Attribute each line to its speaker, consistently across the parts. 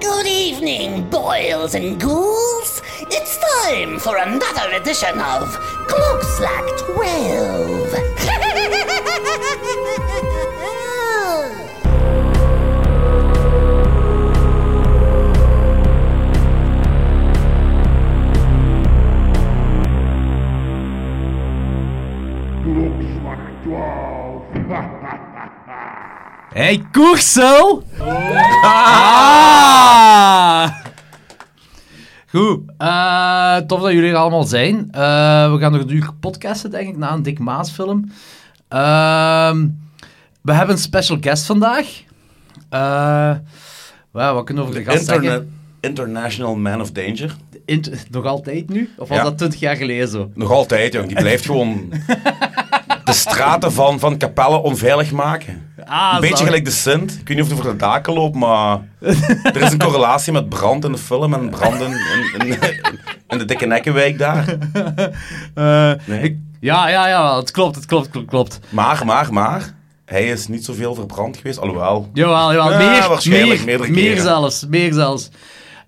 Speaker 1: Good evening, boils and ghouls. It's time for another edition of Klokslag 12.
Speaker 2: Klokslag 12.
Speaker 3: Hey, Koersel! Ah! Goed, eh, tof dat jullie er allemaal zijn. Eh, we gaan nog een uur podcasten, denk ik, na een Dick Maas film. Ehm, we hebben een special guest vandaag. Eh, wauw, wat kunnen we over de gast
Speaker 4: Internet,
Speaker 3: zeggen?
Speaker 4: international Man of Danger.
Speaker 3: Inter- nog altijd nu? Of was
Speaker 4: Ja.
Speaker 3: dat 20 jaar geleden zo?
Speaker 4: Nog altijd, jong. Die blijft gewoon de straten van, van Capelle onveilig maken.
Speaker 3: Ah,
Speaker 4: een beetje
Speaker 3: zalig.
Speaker 4: gelijk de Sint. Ik weet niet of het voor de daken loopt, maar er is een correlatie met brand in de film en branden in, in, in de Dikke Nekkenwijk daar.
Speaker 3: Eh,
Speaker 4: Nee.
Speaker 3: ik- ja, ja, ja, het klopt, het klopt, klopt, klopt.
Speaker 4: Maar, maar, maar, hij is niet zoveel verbrand geweest, alhoewel.
Speaker 3: Jawel, jawel.
Speaker 4: Ja,
Speaker 3: meer,
Speaker 4: waarschijnlijk,
Speaker 3: meer,
Speaker 4: meerdere
Speaker 3: meer
Speaker 4: keren.
Speaker 3: zelfs, meer zelfs.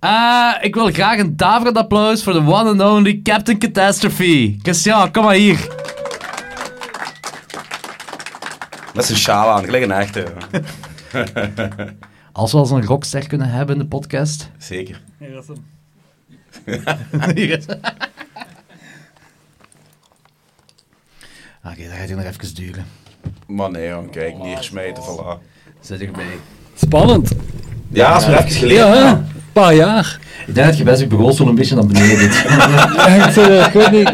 Speaker 3: Eh, ik wil graag een daverend applaus voor de one and only Captain Catastrophe. Christian, kom maar hier.
Speaker 4: Met zijn sjaal aan, gelijk een echte.
Speaker 3: Als we als een rockster kunnen hebben in de podcast.
Speaker 4: Zeker.
Speaker 3: Hier is- Oké, dat gaat hier nog even duren.
Speaker 4: Maar nee, jong, kijk, neersmijten, voilà.
Speaker 3: Zit erbij.
Speaker 5: Spannend.
Speaker 4: Ja, dat is maar even geleden.
Speaker 5: Ja, hè? een paar jaar.
Speaker 3: Ik denk dat je best begon zo'n beetje naar beneden.
Speaker 5: Echt, eh, ik weet niet.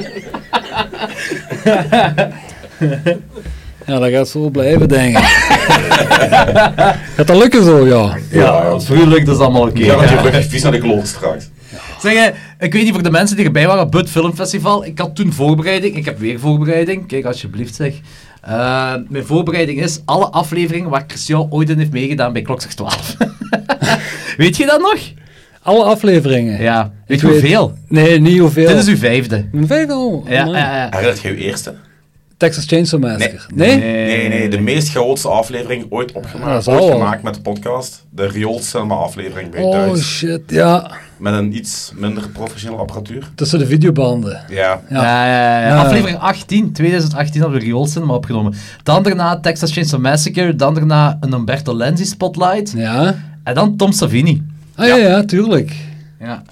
Speaker 5: Ja, dat gaat zo blijven, denk ik. Gaat dat lukken zo, ja?
Speaker 3: ja, ja, dat is allemaal oké.
Speaker 4: Ja, want je bent vies naar de kloot straks.
Speaker 3: Zeg, eh, ik weet niet voor de mensen die erbij waren op het Filmfestival. Ik had toen voorbereiding. Ik heb weer voorbereiding. Kijk, alsjeblieft zeg. Eh, mijn voorbereiding is alle afleveringen waar Christian ooit in heeft meegedaan bij Klokzeg 12. weet je dat nog?
Speaker 5: Alle afleveringen.
Speaker 3: Ja. Weet
Speaker 5: Ik
Speaker 3: je hoeveel?
Speaker 5: Nee, niet hoeveel.
Speaker 3: Dit is uw vijfde.
Speaker 5: Een vijf al.
Speaker 3: Ja,
Speaker 5: Amai.
Speaker 3: ja, ja.
Speaker 4: Herinner je je eerste?
Speaker 5: Texas Chainsaw Massacre. Nee?
Speaker 4: Nee, nee, de meest chaotische aflevering ooit
Speaker 5: Ah, Eh, dat
Speaker 4: opgemaakt.
Speaker 5: zal
Speaker 4: ooit
Speaker 5: wel.
Speaker 4: gemaakt met de podcast. De Riool Cinema aflevering bij
Speaker 5: Oh
Speaker 4: thuis.
Speaker 5: shit, ja.
Speaker 4: Met een iets minder professionele apparatuur.
Speaker 5: Tussen de videobanden.
Speaker 4: Ja.
Speaker 3: Ja, ja, ja.
Speaker 5: Ja.
Speaker 3: Aflevering 18, 2018 hadden we Riool Cinema opgenomen. Dan daarna Texas Chainsaw Massacre. Dan daarna een Umberto Lenzi Spotlight.
Speaker 5: Ja.
Speaker 3: En dan Tom Savini.
Speaker 5: Ah ja, ja, tuurlijk.
Speaker 3: Ja.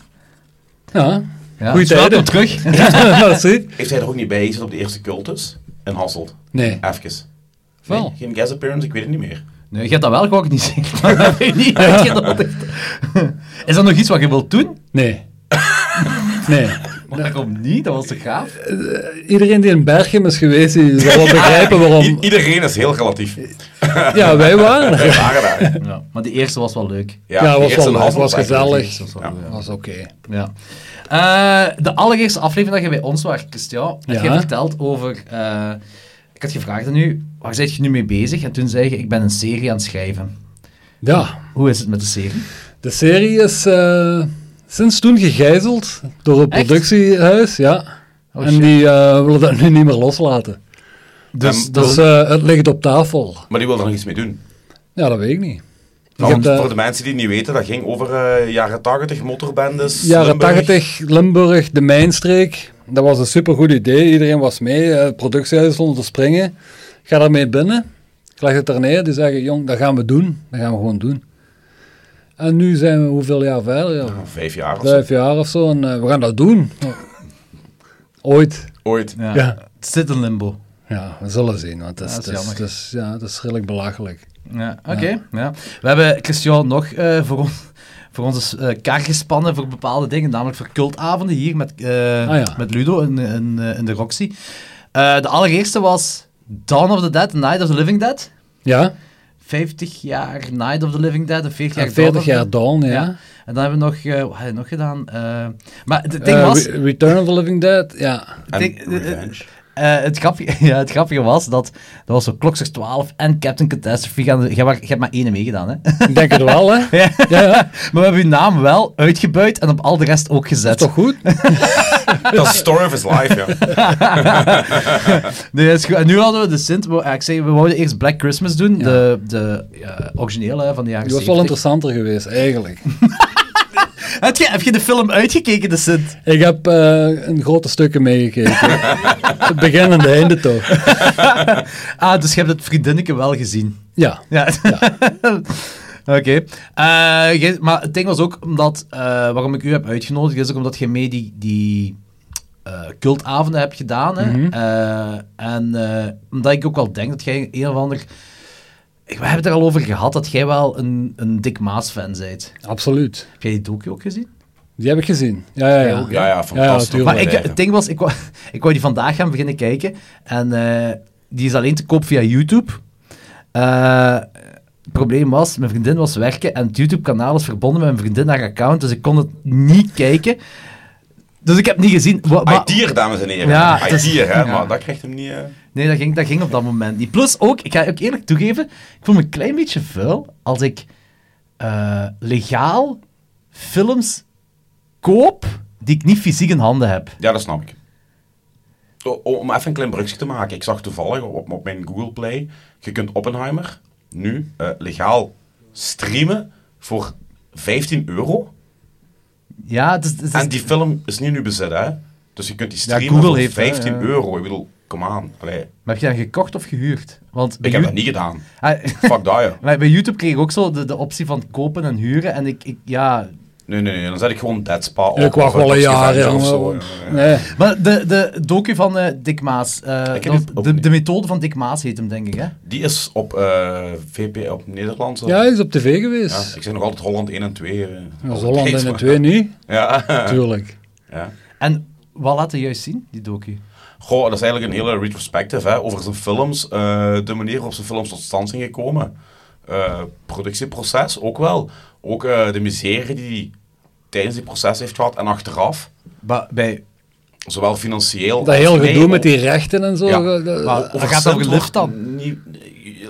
Speaker 5: Ja.
Speaker 3: ja.
Speaker 5: Goeie
Speaker 3: het slaat
Speaker 5: tijden.
Speaker 3: op terug.
Speaker 5: Merci.
Speaker 4: Heeft hij er ook niet bij gezeten op de eerste cultus? In Hasselt.
Speaker 5: Nee.
Speaker 4: Even. Nee,
Speaker 5: Wel.
Speaker 4: geen guest appearance, ik weet het niet meer.
Speaker 3: Nee, je hebt dat wel georganiseerd, maar dat heb je niet uitgenodigd. Is dat nog iets wat je wilt doen?
Speaker 5: Nee. Nee.
Speaker 3: Maar Waarom niet? Dat was toch gaaf?
Speaker 5: Iedereen die in Berchem is geweest, die zal wel begrijpen
Speaker 4: I-
Speaker 5: waarom.
Speaker 4: iedereen is heel relatief.
Speaker 5: Ja, wij waren er.
Speaker 4: Wij waren daar. Ja,
Speaker 3: Ja. Maar die eerste was wel leuk.
Speaker 5: Ja,
Speaker 4: de
Speaker 5: was
Speaker 4: eerste
Speaker 5: wel
Speaker 4: in
Speaker 5: leuk,
Speaker 4: Hasselt
Speaker 5: was
Speaker 4: eigenlijk.
Speaker 5: gezellig.
Speaker 3: Dat was wel
Speaker 4: Ja.
Speaker 3: leuk,
Speaker 5: Was oké.
Speaker 3: Ja. Eh, de allereerste aflevering dat je bij ons was, Christian, had
Speaker 5: Ja.
Speaker 3: je verteld over... eh, ik had gevraagd aan u, waar ben je nu mee bezig? En toen zei je, ik ben een serie aan het schrijven.
Speaker 5: Ja,
Speaker 3: Hoe is het met de serie?
Speaker 5: de serie is eh, sinds toen gegijzeld door een
Speaker 3: Echt?
Speaker 5: productiehuis, ja.
Speaker 3: Oh,
Speaker 5: en
Speaker 3: shit.
Speaker 5: die eh, willen dat nu niet meer loslaten.
Speaker 3: Dus,
Speaker 4: Ehm,
Speaker 3: dat
Speaker 5: Dus
Speaker 3: is-
Speaker 5: eh, het ligt op tafel.
Speaker 4: Maar die wil er nog iets mee doen.
Speaker 5: Ja, dat weet ik niet. Ik
Speaker 4: Want
Speaker 5: heb, eh,
Speaker 4: voor de mensen die het niet weten, dat ging over eh, jaren 80 motorbendes.
Speaker 5: Jaren
Speaker 4: Limburg.
Speaker 5: 80, Limburg, de Mijnstreek. Dat was een supergoed idee. Iedereen was mee. eh, Het productiehuis stond te springen. Ik ga daarmee binnen. Ik leg het er neer. Die zeggen, jong, dat gaan we doen. Dat gaan we gewoon doen. En nu zijn we hoeveel jaar verder? Ja,
Speaker 4: Vijf jaar of zo.
Speaker 5: vijf jaar of zo. En eh, we gaan dat doen. Ooit.
Speaker 4: Ooit.
Speaker 3: ja.
Speaker 5: ja.
Speaker 3: Het zit in limbo.
Speaker 5: Ja, we zullen zien. Want het is,
Speaker 3: Ja, dat is
Speaker 5: het is-
Speaker 3: jammer.
Speaker 5: het is- ja, het is redelijk belachelijk.
Speaker 3: Ja, oké. Ja. We hebben Christian nog eh, voor, on- voor onze eh, kar gespannen voor bepaalde dingen, namelijk voor cultavonden hier met, eh,
Speaker 5: Ah, ja.
Speaker 3: met Ludo in, in, eh, in de Roxy. Eh, de allereerste was Dawn of the Dead, Night of the Living Dead.
Speaker 5: Ja,
Speaker 3: 50 jaar Night of the Living Dead en 40 jaar
Speaker 5: en 40
Speaker 3: Dawn
Speaker 5: Ah, jaar
Speaker 3: of the-
Speaker 5: Dawn, ja.
Speaker 3: En dan hebben we nog, eh, wat hebben we nog gedaan? Eh, maar het ding
Speaker 5: Eh,
Speaker 3: was...
Speaker 5: Re- Return of the Living Dead, ja.
Speaker 4: En
Speaker 3: Denk- eh, eh,
Speaker 4: Revenge.
Speaker 3: Eh, het, grappige, ja, het grappige was dat, dat was zo klokslag 12 en Captain Catastrophe. gaan- Jij wa- jij hebt maar één meegedaan, hè?
Speaker 5: Ik denk het wel, hè.
Speaker 3: Ja.
Speaker 5: ja.
Speaker 3: Maar we hebben uw naam wel uitgebuit en op al de rest ook gezet.
Speaker 5: Toch goed?
Speaker 4: Dat is de story of his life, ja.
Speaker 3: Nee, dat is goed. En nu hadden we de Sint. wo- eh, Ik zei, we wouden eerst Black Christmas doen. De, de ja, originele hè, van de jaren
Speaker 5: Die was
Speaker 3: 70.
Speaker 5: wel interessanter geweest, eigenlijk.
Speaker 3: Heb je, heb je de film uitgekeken, de Sint?
Speaker 5: Ik heb eh, een grote stukken meegekeken. het begin en de einde toch.
Speaker 3: Ah, dus je hebt het vriendinnetje wel gezien.
Speaker 5: Ja.
Speaker 3: Ja. Oké. Eh, jij- maar het ding was ook omdat, eh, waarom ik u heb uitgenodigd, is ook omdat je mee die, die eh, cultavonden hebt gedaan. Hè? Eh, en eh, omdat ik ook wel denk dat jij een of ander... Ik- We hebben het er al over gehad dat jij wel een, een Dick Maas-fan bent.
Speaker 5: Absoluut.
Speaker 3: Heb jij die docu ook gezien?
Speaker 5: Die heb ik gezien. Ja, ja, ja.
Speaker 4: Ja, ja, fantastisch.
Speaker 5: Ja, ja,
Speaker 3: Maar
Speaker 5: tuurlijk.
Speaker 3: ik, het ding was, ik wou, ik wou die vandaag gaan beginnen kijken. En eh, die is alleen te koop via YouTube. Eh, het probleem was, mijn vriendin was werken en het YouTube-kanaal is verbonden met mijn vriendin haar account, dus ik kon het niet kijken. Dus ik heb het niet gezien. Wa- maar-
Speaker 4: Haitier, dames en heren.
Speaker 3: Ja, het is-
Speaker 4: Haitier, hè.
Speaker 3: ja.
Speaker 4: Maar dat krijgt hem niet... eh.
Speaker 3: Nee, dat ging, dat ging op dat moment niet. Plus ook, ik ga ook eerlijk toegeven, ik voel me een klein beetje vuil als ik eh, legaal films koop die ik niet fysiek in handen heb.
Speaker 4: Ja, dat snap ik. O- o- Om even een klein brugje te maken. Ik zag toevallig op, op mijn Google Play... Je kunt Oppenheimer nu eh, legaal streamen voor 15 euro.
Speaker 3: Ja, dus- het is, het is-
Speaker 4: En die film is niet nu bezet, hè. Dus je kunt die streamen
Speaker 3: Google
Speaker 4: voor
Speaker 3: heeft, hè,
Speaker 4: 15
Speaker 3: ja.
Speaker 4: euro. Ik bedoel, kom aan. Allee,
Speaker 3: Maar heb je dat gekocht of gehuurd? Want bij
Speaker 4: ik heb
Speaker 3: Ju-
Speaker 4: dat niet gedaan.
Speaker 3: Ah,
Speaker 4: Fuck dat, ja.
Speaker 3: maar bij YouTube kreeg ik ook zo de, de optie van kopen en huren. En ik, ik ja...
Speaker 4: Nee, nee, nee. Dan zet ik gewoon Dead Spa op.
Speaker 5: Ik wacht
Speaker 4: of
Speaker 5: wel een
Speaker 4: Toxic
Speaker 5: jaar,
Speaker 4: Avenger of
Speaker 5: jongen.
Speaker 4: zo, ja.
Speaker 5: Nee.
Speaker 3: Maar de, de docu van eh, Dick Maas, eh,
Speaker 4: Ik heb
Speaker 3: dat-
Speaker 4: die ook
Speaker 3: de,
Speaker 4: niet.
Speaker 3: de methode van Dick Maas heet hem, denk ik, hè?
Speaker 4: Die is op eh, VP op Nederlands.
Speaker 5: Ja, hij is op tv
Speaker 4: Ja,
Speaker 5: geweest.
Speaker 4: ik zeg nog altijd Holland 1 en 2. eh,
Speaker 5: Dat
Speaker 4: altijd
Speaker 5: is Holland
Speaker 4: deze,
Speaker 5: in de
Speaker 4: maar-
Speaker 5: twee nu.
Speaker 4: Ja.
Speaker 5: Tuurlijk.
Speaker 4: ja.
Speaker 3: En wat laat hij juist zien, die docu?
Speaker 4: Goh, dat is eigenlijk een hele retrospective hè, over zijn films. eh, de manier waarop zijn films tot stand zijn gekomen. Eh, productieproces ook wel. Ook eh, de miserie die hij tijdens die proces heeft gehad en achteraf.
Speaker 3: Ba- bij...
Speaker 4: Zowel financieel
Speaker 5: Dat
Speaker 4: als
Speaker 5: heel
Speaker 4: mee-
Speaker 5: gedoe met die rechten en zo.
Speaker 4: Ja.
Speaker 5: ge- ge-
Speaker 3: Maar
Speaker 5: Ja,
Speaker 3: dat gaat over
Speaker 4: Overstemd
Speaker 3: lift dan.
Speaker 4: wordt niet- eh,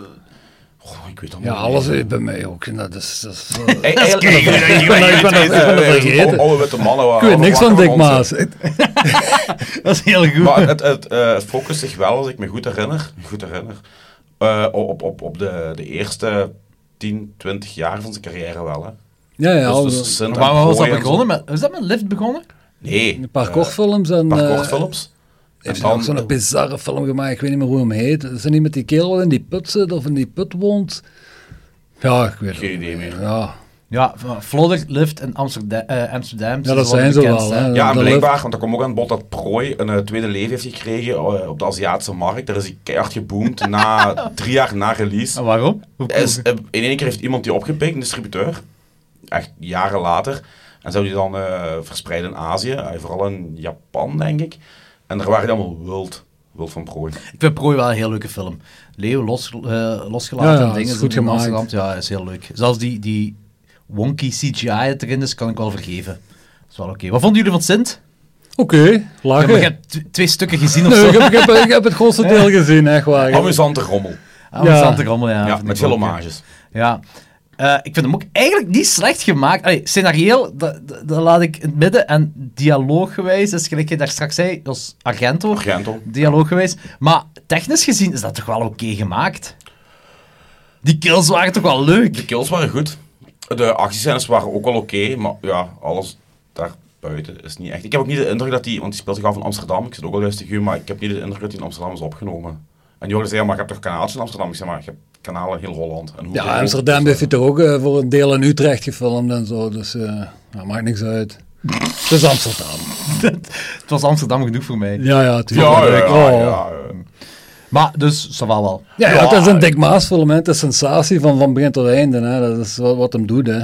Speaker 4: Goh, ik weet dat niet.
Speaker 5: alles eh, bij mij ook. Dat is, dat is, eh,
Speaker 4: Hey, hey, hey,
Speaker 5: ik ben dat- ik ben dat- ik ben dat- ik ben dat vergeten.
Speaker 4: Oude witte mannen.
Speaker 5: Ik weet niks van Dick Maas.
Speaker 3: Dat is heel goed.
Speaker 4: Maar het, het eh, focust zich wel, als ik me goed herinner, goed herinner eh, op, op, op de, de eerste 10, 20 jaar van zijn carrière wel. Hè.
Speaker 5: Ja, ja. al-
Speaker 4: dus, dus Sint en
Speaker 3: Maar waar was dat
Speaker 4: Prooi en
Speaker 3: begonnen?
Speaker 4: zo.
Speaker 3: Met, is dat met Lift begonnen?
Speaker 4: Nee.
Speaker 5: Een paar
Speaker 4: eh,
Speaker 5: kortfilms en...
Speaker 4: een paar
Speaker 5: eh,
Speaker 4: kortfilms.
Speaker 5: Heeft
Speaker 4: En eh,
Speaker 5: hij ook zo'n eh, bizarre film gemaakt, ik weet niet meer hoe hem heet. Is hij niet met die kerel wat in die put zit of in die put woont? Ja, ik weet het
Speaker 4: Geen
Speaker 5: niet.
Speaker 4: idee meer.
Speaker 5: Ja,
Speaker 3: Ja, van Flodder, Lift en Amsterdam. eh, Amsterdam zijn
Speaker 5: ja dat
Speaker 3: wel de
Speaker 5: zijn ze wel.
Speaker 3: bekendste,
Speaker 5: Hè.
Speaker 4: Ja, en
Speaker 5: Dat
Speaker 4: blijkbaar, want dat kwam ook aan bod dat Prooi een eh, tweede leven heeft gekregen eh, op de Aziatische markt. Daar is hij keihard geboomd na drie jaar na release.
Speaker 5: Ah,
Speaker 3: En waarom? Hoe
Speaker 4: Er is, eh, in één keer heeft iemand die opgepikt, een distributeur. Echt jaren later. En ze hebben die dan eh, verspreid in Azië, eh, vooral in Japan, denk ik. En daar waren die allemaal wild. Wild van prooi.
Speaker 3: Ik vind Prooi wel een heel leuke film. Leeuw los, eh, losgelaten
Speaker 5: Ja, ja,
Speaker 3: en dingen.
Speaker 5: is goed
Speaker 3: in
Speaker 5: gemaakt.
Speaker 3: Amsterdam. Ja, is heel leuk. Zelfs die, die wonky CGI dat erin is, kan ik wel vergeven. Dat is wel oké. Wat vonden jullie van Sint?
Speaker 5: Oké,
Speaker 3: Ja,
Speaker 5: lachen.
Speaker 3: maar je hebt tw- twee stukken gezien of
Speaker 5: Nee,
Speaker 3: zo.
Speaker 5: ik, heb, ik, heb, ik heb het grootste deel gezien, echt waar.
Speaker 4: Amusante rommel.
Speaker 3: Interessante rommel, ja.
Speaker 4: Ja,
Speaker 3: vind
Speaker 4: met
Speaker 3: ik
Speaker 4: veel
Speaker 3: ook, ja.
Speaker 4: homages.
Speaker 3: Ja. Eh, ik vind hem ook eigenlijk niet slecht gemaakt. Allee, scenarioel, dat, dat, dat laat ik in het midden. En dialooggewijs, is gelijk je daar straks zei, dat is Argento.
Speaker 4: Argento.
Speaker 3: Dialooggewijs. Maar technisch gezien is dat toch wel oké gemaakt? Die kills waren toch wel leuk?
Speaker 4: De kills waren goed. De actiescènes waren ook wel oké, maar ja, alles daarbuiten is niet echt. Ik heb ook niet de indruk dat die, want die speelt zich af in Amsterdam. Ik zit ook al juist tegen u, maar ik heb niet de indruk dat die in Amsterdam is opgenomen. En die hoorde zeggen, maar je hebt toch kanaaltjes in Amsterdam? Ik zeg maar, je hebt kanalen in heel Holland. En hoe-
Speaker 5: Ja, Amsterdam heeft hij toch ook eh, voor een deel in Utrecht gefilmd en zo. Dus eh dat maakt niks uit. Het is Amsterdam.
Speaker 3: het was Amsterdam genoeg voor mij.
Speaker 5: Ja, ja,
Speaker 4: Ja,
Speaker 5: tuurlijk.
Speaker 4: ja, ja,
Speaker 5: Oh.
Speaker 4: ja, ja.
Speaker 3: Maar dus, dat wel.
Speaker 5: Ja, ja, het is een Dick Maas film, hè. Het is sensatie van, van begin tot einde. Hè. Dat is wat, wat hem doet, hè.